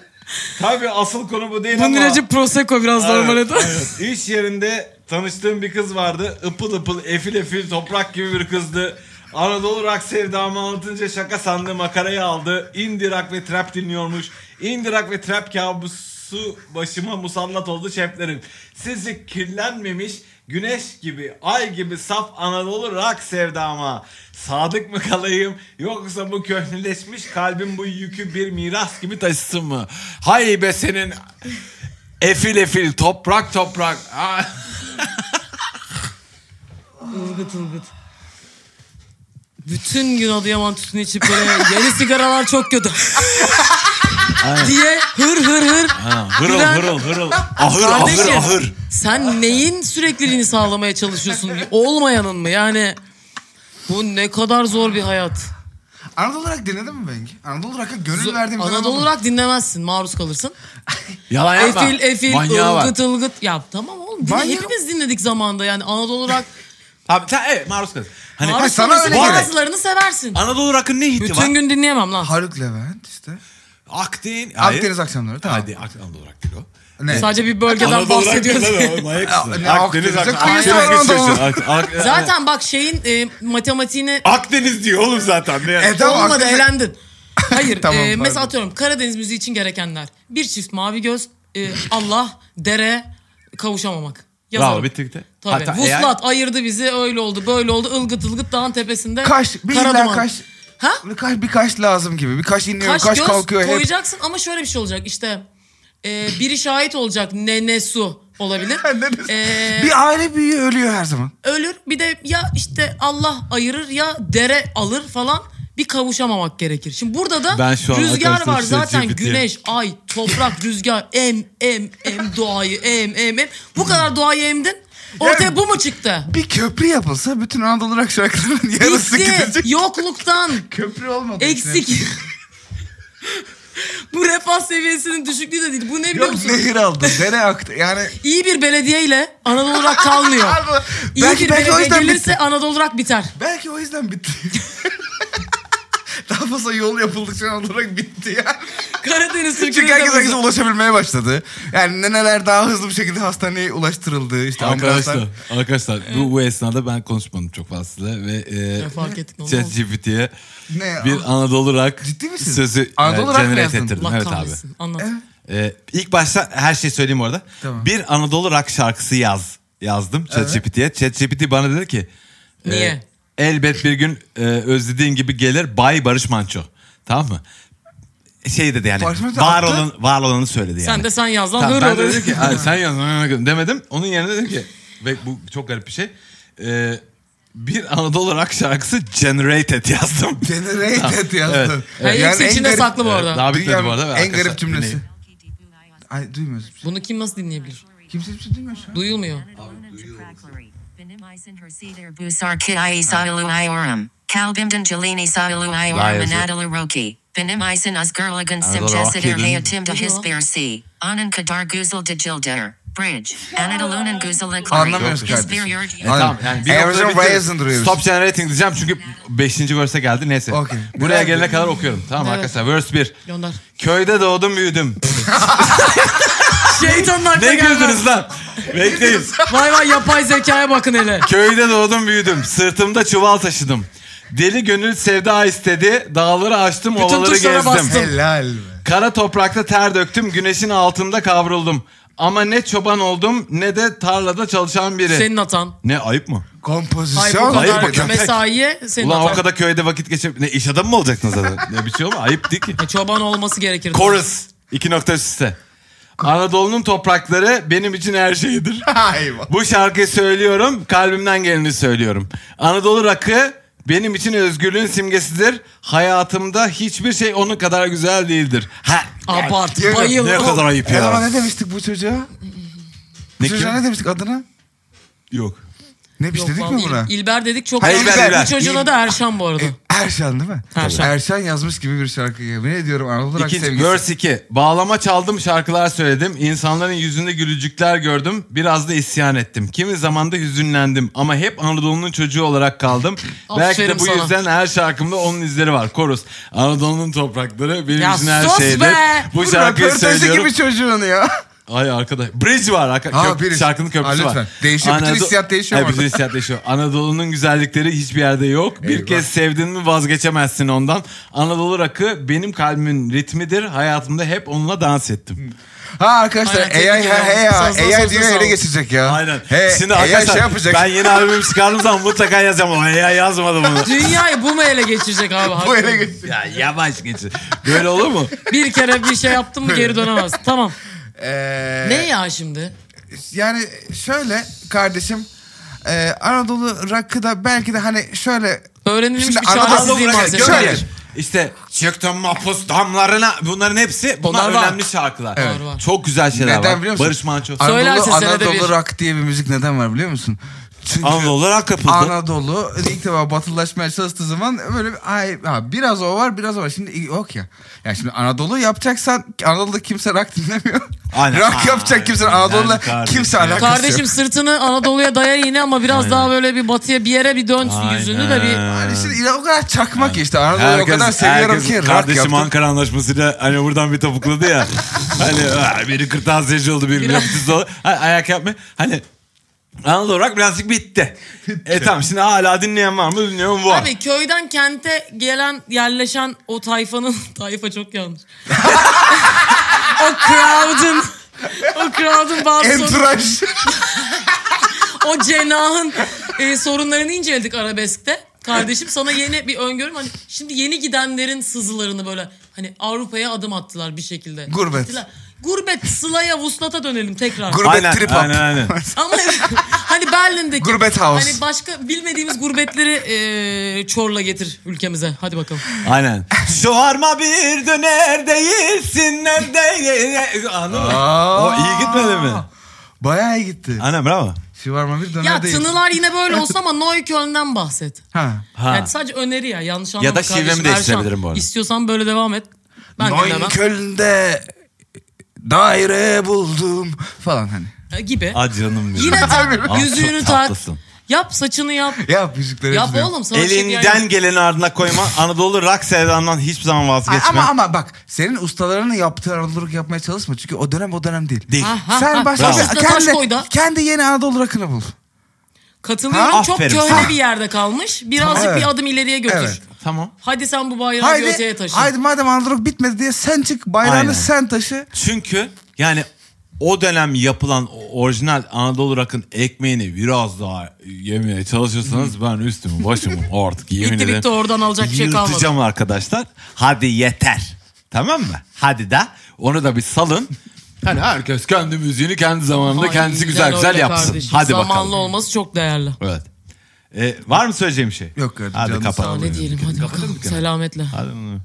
B: tabii asıl konu bu değil
C: Bunun
B: ama...
C: ilacı Prosecco biraz
B: Evet,
C: normal edin.
B: evet. İş yerinde tanıştığım bir kız vardı. Ipıl ıpıl, efil efil, toprak gibi bir kızdı. Anadolu rock sevdamı anlatınca şaka sandığı makarayı aldı. Indie rock ve trap dinliyormuş. Indie rock ve trap kabusu başıma musallat oldu şeflerim. Sizi kirlenmemiş güneş gibi, ay gibi saf Anadolu rock sevdama. Sadık mı kalayım yoksa bu köhneleşmiş kalbim bu yükü bir miras gibi taşısın mı? Hay be senin Efil efil toprak toprak. Ah.
C: Ilgıt ılgıt. Bütün gün Adıyaman tütünü içip böyle yeni sigaralar çok kötü. diye hır hır hır.
B: Hırıl
C: Gülen-
B: hırıl hırıl. Ahır ahır
C: Kardeşim,
B: ahır.
C: Sen neyin sürekliliğini sağlamaya çalışıyorsun? Olmayanın mı? Yani bu ne kadar zor bir hayat.
D: Anadolu Rock dinledin mi Bengi? Anadolu Rock'a gönül verdiğim bir
C: Anadolu
D: zaman oldu.
C: olarak dinlemezsin. Maruz kalırsın.
B: Yalan
C: Efil efil
B: Manyağı var.
C: ılgıt ılgıt. Ya tamam oğlum. Dinle,
D: Manyak-
C: hepimiz dinledik zamanda yani. Anadolu olarak
B: Abi sen evet maruz kız. Hani
C: maruz
D: sana
C: kalırsın.
D: öyle gerek.
C: Bazılarını seversin.
B: Anadolu rock'ın ne hiti var?
C: Bütün gün dinleyemem lan.
D: Haluk Levent işte.
B: Akdin. Hayır.
D: Akdeniz akşamları tamam.
B: Hadi Ak- Anadolu rock değil o.
D: Ne?
C: Sadece bir bölgeden bahsediyoruz.
D: Aa, ne, Akdeniz
B: Ak-
D: kıyısı var
B: Akdeniz
D: Anadolu.
B: geçiyorsun. Ak- Ak-
C: Zaten bak şeyin e, matematiğine
B: Akdeniz diyor oğlum zaten. Ne?
D: E, tamam,
C: olmadı
D: Akdeniz-
C: eğlendin. Hayır
D: Tamam,
C: e, mesela
D: pardon.
C: atıyorum Karadeniz müziği için gerekenler. Bir çift mavi göz, e, Allah, dere, kavuşamamak. Yazarım.
B: Bravo bitti bitti.
C: Tabii.
B: Hatta eğer-
C: Vuslat ayırdı bizi öyle oldu böyle oldu ılgıt ılgıt dağın tepesinde.
D: Kaş, bir
C: kara
D: illa
C: duman.
D: kaş.
C: Ha?
D: Bir kaş, bir kaş lazım gibi. Bir kaş iniyor,
C: Kaş,
D: kaş,
C: göz
D: kalkıyor hep.
C: koyacaksın ama şöyle bir şey olacak işte. E, biri şahit olacak nene su olabilir.
D: Neresi?
C: E,
D: Bir aile büyüğü ölüyor her zaman.
C: ölür bir de ya işte Allah ayırır ya dere alır falan bir kavuşamamak gerekir. Şimdi burada da
B: Ben şu an
C: rüzgar
B: arkadaşlar
C: var
B: işte
C: zaten
B: GPT.
C: güneş, ay, toprak, rüzgar, em, em, em doğayı, em, em, em. Bu kadar doğayı emdin. Ortaya
D: Yani-
C: bu mu çıktı?
D: Bir köprü yapılsa bütün Anadolu Rock şarkılarının yarısı
C: Bitti.
D: gidecek.
C: Yokluktan,
D: Köprü olmadı.
C: eksik. bu refah seviyesinin düşüklüğü de değil. Bu ne biliyor
D: Yok
C: musun?
D: nehir aldı. Dere aktı. Yani
C: İyi bir belediyeyle Anadolu olarak kalmıyor.
D: Abi,
C: İyi
D: belki,
C: bir
D: belki o
C: belediye
D: yüzden
C: gelirse
D: bitti.
C: Anadolu olarak biter.
D: Belki o yüzden bitti. Daha fazla yol yapıldıkça Anadolu Rock bitti ya.
C: Karadeniz Türkiye'de
D: Çünkü herkes herkese ulaşabilmeye başladı. Yani neneler daha hızlı bir şekilde hastaneye ulaştırıldı. İşte
B: Arkadaşlar,
D: ambulanslar.
B: arkadaşlar bu, bu esnada ben konuşmadım çok fazla size ve e,
C: Ya fark ettik, ne oldu?
B: ChatGPT'ye
D: Ne?
B: bir Anadolu rock
D: Ciddi misin?
B: sözü
D: Anadolu rock mı
B: generate
D: yazdın?
B: ettirdim.
C: Allah
B: evet abi.
C: kahretsin. Anlat.
D: Evet.
B: Ee, ilk başta her şeyi söyleyeyim orada.
D: Tamam.
B: Bir Anadolu rock şarkısı yaz yazdım ChatGPT'ye. ChatGPT bana dedi ki e,
C: Niye?
B: elbet bir gün e, özlediğin gibi gelir Bay Barış Manço. Tamam mı? Şey dedi yani
D: Barış Manço
B: var
D: attı.
B: olan var olanı söyledi yani.
C: Sen de sen yaz lan.
B: Tamam,
C: dur
B: ben de
C: orada.
B: dedim ki "Ay, sen yaz demedim. Onun yerine dedim ki ve bu çok garip bir şey. Ee, bir Anadolu rock şarkısı Generated yazdım. Ah,
D: Generated yazdın.
C: Ha, hepsi
D: en
C: içinde
D: garip-
C: saklı bu arada.
B: Daha bitmedi bu
D: Dünyanın
B: arada. ve
D: En
B: arkadaşlar
D: garip cümlesi.
B: dinleyin.
D: Ay duymuyoruz. biz.
C: Bunu kim nasıl dinleyebilir?
D: Kimse bir şey duymuyor şu an.
C: Duyulmuyor.
B: Lies. Anadolu Roki'nin-
D: Anlamıyoruz
B: Yok,
D: kardeşim.
B: E, tamam yani bir noktada
D: Erasure
B: bitti.
D: Raisin duruyoruz.
B: Stop generating diyeceğim çünkü 5. verse'e geldi neyse.
D: Okey.
B: Buraya
D: Güzel.
B: gelene kadar okuyorum tamam
C: Evet.
B: arkadaşlar. Verse 1.
C: Gönder.
B: Köyde doğdum büyüdüm.
C: Şeytanın aklına
B: ne
C: gelmez.
B: güldünüz lan? Bekleyin.
C: Vay vay yapay zekaya bakın hele.
B: Köyde doğdum büyüdüm. Sırtımda çuval taşıdım. Deli gönül sevda istedi. Dağları açtım, ovaları
C: tuşlara
B: gezdim.
C: bastın.
D: Helal be.
B: Kara toprakta ter döktüm, güneşin altında kavruldum. Ama ne çoban oldum ne de tarlada çalışan biri.
C: Senin atan.
B: Ne ayıp mı?
C: Ay bu
D: Kompozisyon.
B: Hayır,
C: kadar
B: bakın.
C: mesaiye senin
B: Ulan o
C: atan.
B: kadar köyde vakit geçip ne iş adamı mı olacaksın zaten? ne bir şey olma ayıp değil ki.
C: E, çoban olması gerekir.
B: Chorus. İki nokta üst üste. Anadolu'nun toprakları benim için her şeydir.
D: Ay bak.
B: Bu şarkıyı söylüyorum, kalbimden geleni söylüyorum. Anadolu rakı benim için özgürlüğün simgesidir. Hayatımda hiçbir şey onun kadar güzel değildir. Ha.
C: Abart.
D: Yemin-
C: Bayıl.
B: Ne kadar ayıp
D: E ama
B: ya.
D: ne demiştik bu çocuğa?
B: Ne
D: Bu çocuğa
B: kim?
D: ne demiştik adına?
B: Yok.
D: Ne biz
C: Yok
D: dedik
C: vallahi
D: mi buna?
C: İl- İlber dedik çok.
B: Hayır,
C: Hayır,
B: İlber, İlber.
C: Bu çocuğun adı Erşan bu arada.
D: E, Erşan değil mi?
C: Erşan.
D: Erşan yazmış gibi bir şarkı. Yemin ediyorum Anadolu Rock
B: İkinci,
D: sevgisi.
B: verse 2. Bağlama çaldım, şarkılar söyledim. İnsanların yüzünde gülücükler gördüm. Biraz da isyan ettim. Kimi zaman da hüzünlendim. Ama hep Anadolu'nun çocuğu olarak kaldım. Belki de
C: Aferin
B: bu
C: sana.
B: yüzden her şarkımda onun izleri var. Korus. Anadolu'nun toprakları benim
C: Ya
B: için her
C: sus
B: şeydir.
C: be!
B: Bu
D: Bu
B: şarkıyı
D: röportajı
B: söylüyorum.
D: gibi çocuğun ya.
B: Ay arkadaş. Bridge var. Arka,
D: Ha,
B: köp-
D: bridge.
B: Şarkının köprüsü
D: Ha, lütfen.
B: var.
D: Değişiyor, bütün hissiyat değişiyor
B: Ay,
D: orada.
B: Bütün hissiyat değişiyor. Anadolu'nun güzellikleri hiçbir yerde yok. Bir
D: Eyvah.
B: kez sevdin mi vazgeçemezsin ondan. Anadolu rakı benim kalbimin ritmidir. Hayatımda hep onunla dans ettim.
D: Ha arkadaşlar
C: Aynen,
D: AI
C: tebrik
D: ha hey
C: ediyorum.
D: ya.
C: Sağ- sağ-
D: AI
C: sağ-
D: diyor
C: sağ-
D: ele
C: sağ-
D: geçecek ya.
B: Aynen.
D: He,
B: Şimdi
D: AI
B: arkadaşlar
D: şey yapacak.
B: ben yeni albüm çıkardığım zaman mutlaka yazacağım. O ya yazmadı bunu.
C: Dünyayı bu mu ele geçirecek abi?
D: Bu ele geçecek.
B: ya yavaş geçin. Böyle olur mu?
C: Bir kere bir şey yaptın mı geri dönemez. Tamam.
D: Ee,
C: Ne ya şimdi?
D: Yani şöyle kardeşim. E, Anadolu Rock'ı da belki de hani şöyle
C: Öğrenilmiş
D: Şimdi
C: bir
D: Anadolu
C: çaresizliği
D: bırak-
C: malzemesi.
D: Şöyle.
C: var.
B: İşte çıktım mapus damlarına bunların hepsi bunlar,
C: Bunlar var.
B: önemli şarkılar.
C: Evet. Var, var.
B: Çok güzel şeyler
D: Neden
B: var.
D: biliyor musun?
B: Barış Manço.
C: Söylersin
D: Anadolu,
C: senede bir.
D: Anadolu Rock diye bir müzik neden var biliyor musun? Çünkü
B: Anadolu rock yapıldı.
D: Anadolu ilk defa batılaşmaya çalıştığı zaman böyle bir, ay, ha, biraz o var biraz o var. Şimdi yok ya. Yani şimdi Anadolu yapacaksan Anadolu'da kimse rock dinlemiyor.
B: Aynen.
D: rock
B: Aynen.
D: yapacak kimse Anadolu'da
B: Yani kardeşim.
D: kimse alakası
C: Kardeşim
D: yok.
C: sırtını Anadolu'ya daya yine ama biraz daha böyle bir batıya bir yere bir dön yüzünü de bir...
D: Yani şimdi yine o kadar çakmak ki işte Anadolu'yu o kadar seviyorum
B: Hmm. herkes
D: ki rock
B: kardeşim
D: yaptım.
B: Ankara Anlaşması'yla hani buradan bir topukladı ya. hani "Aa, biri kırtasiyeci oldu, biri
C: Biraz-
B: grafitist oldu. Hani ayak yapma. Hani Anadolu olarak birazcık bitti. E tamam şimdi hala dinleyen var mı? Dinleyen var.
C: Abi köyden kente gelen yerleşen o tayfanın... Tayfa çok yanlış. o crowd'un... O crowd'un bazı sorun-
D: Entourage.
C: o cenahın e, sorunlarını inceledik arabeskte. Kardeşim sana yeni bir öngörüm hani şimdi yeni gidenlerin sızılarını böyle hani Avrupa'ya adım attılar bir şekilde.
D: Gurbet.
C: Gittiler. Gurbet Sıla'ya vuslata dönelim tekrar.
D: Gurbet
B: Aynen,
D: trip up.
B: aynen, aynen.
C: Ama hani Berlin'deki
D: Gurbet house.
C: hani başka bilmediğimiz gurbetleri e, Çorla getir ülkemize. Hadi bakalım.
B: Aynen. Şu harma bir döner değilsin nerede? Anladın mı?
D: Aa,
B: O iyi gitmedi mi?
D: Bayağı iyi gitti.
B: Aynen bravo.
D: Şivarma bir döner
C: Ya
D: değil.
C: tınılar yine böyle olsa ama Neukölln'den bahset.
D: Ha.
B: Ha.
C: Yani sadece öneri ya. Yanlış anlama
B: da
C: kardeşim.
B: şivemi
C: Erşan,
B: değiştirebilirim bu arada.
C: İstiyorsan böyle devam et. Ben dinlemem.
D: Neukölln'de daire buldum falan hani.
C: E, gibi.
B: Ah canım benim.
C: Yine
B: Abi,
C: tak, yüzüğünü
B: çok
C: tak.
B: tatlısın.
C: Yap saçını yap.
D: Yap müzikleri
C: Yap
D: biliyorum.
C: oğlum sana bir şey
B: Elinden
C: diyemem.
B: geleni ardına koyma. Anadolu rock sevdandan hiçbir zaman
D: Ay,
B: vazgeçme.
D: Ama ama bak senin ustalarını yaptığı Anadolu rock yapmaya çalışma çünkü o dönem o dönem değil.
B: Değil.
C: Ha, ha,
D: Sen
C: ha.
D: başka
C: Taş
D: bir,
C: üstüne taş koy
D: kendi,
C: da.
D: kendi yeni Anadolu rock'ını bul.
C: Katılıyorum
B: Ha,
C: çok
B: aferin
C: köhne
B: sana.
C: bir yerde kalmış. Birazcık
D: Evet.
C: bir adım ileriye götür.
D: Evet.
B: Tamam.
C: Hadi sen bu bayrağı bir öteye
D: Haydi,
C: taşı.
D: haydi madem Anadolu bitmedi diye sen çık bayrağını
B: Aynen.
D: sen taşı.
B: Çünkü yani o dönem yapılan o- orijinal Anadolu Rock'ın ekmeğini biraz daha yemeye çalışırsanız ben üstümü başımı artık yemin
C: Bitti
B: ederim.
C: bitti oradan alacak bir şey kalmadı.
B: Yırtacağım arkadaşlar. Hadi yeter. Tamam mı? Hadi da onu da bir salın. Hani herkes kendi müziğini kendi zamanında kendisi
C: Aynen
B: güzel güzel
C: öyle
B: yapsın.
C: kardeşim.
B: Hadi
C: Zamanlı
B: bakalım.
C: olması çok değerli.
B: Evet. Ee, var mı söyleyeceğim bir şey?
D: Yok kardeşim,
B: Hadi
D: canın sağ
B: kapat.
D: ol.
C: Ne diyelim hadi
B: Kapatalım
C: bakalım.
B: dükkanı.
C: Selametle.
B: Hadi.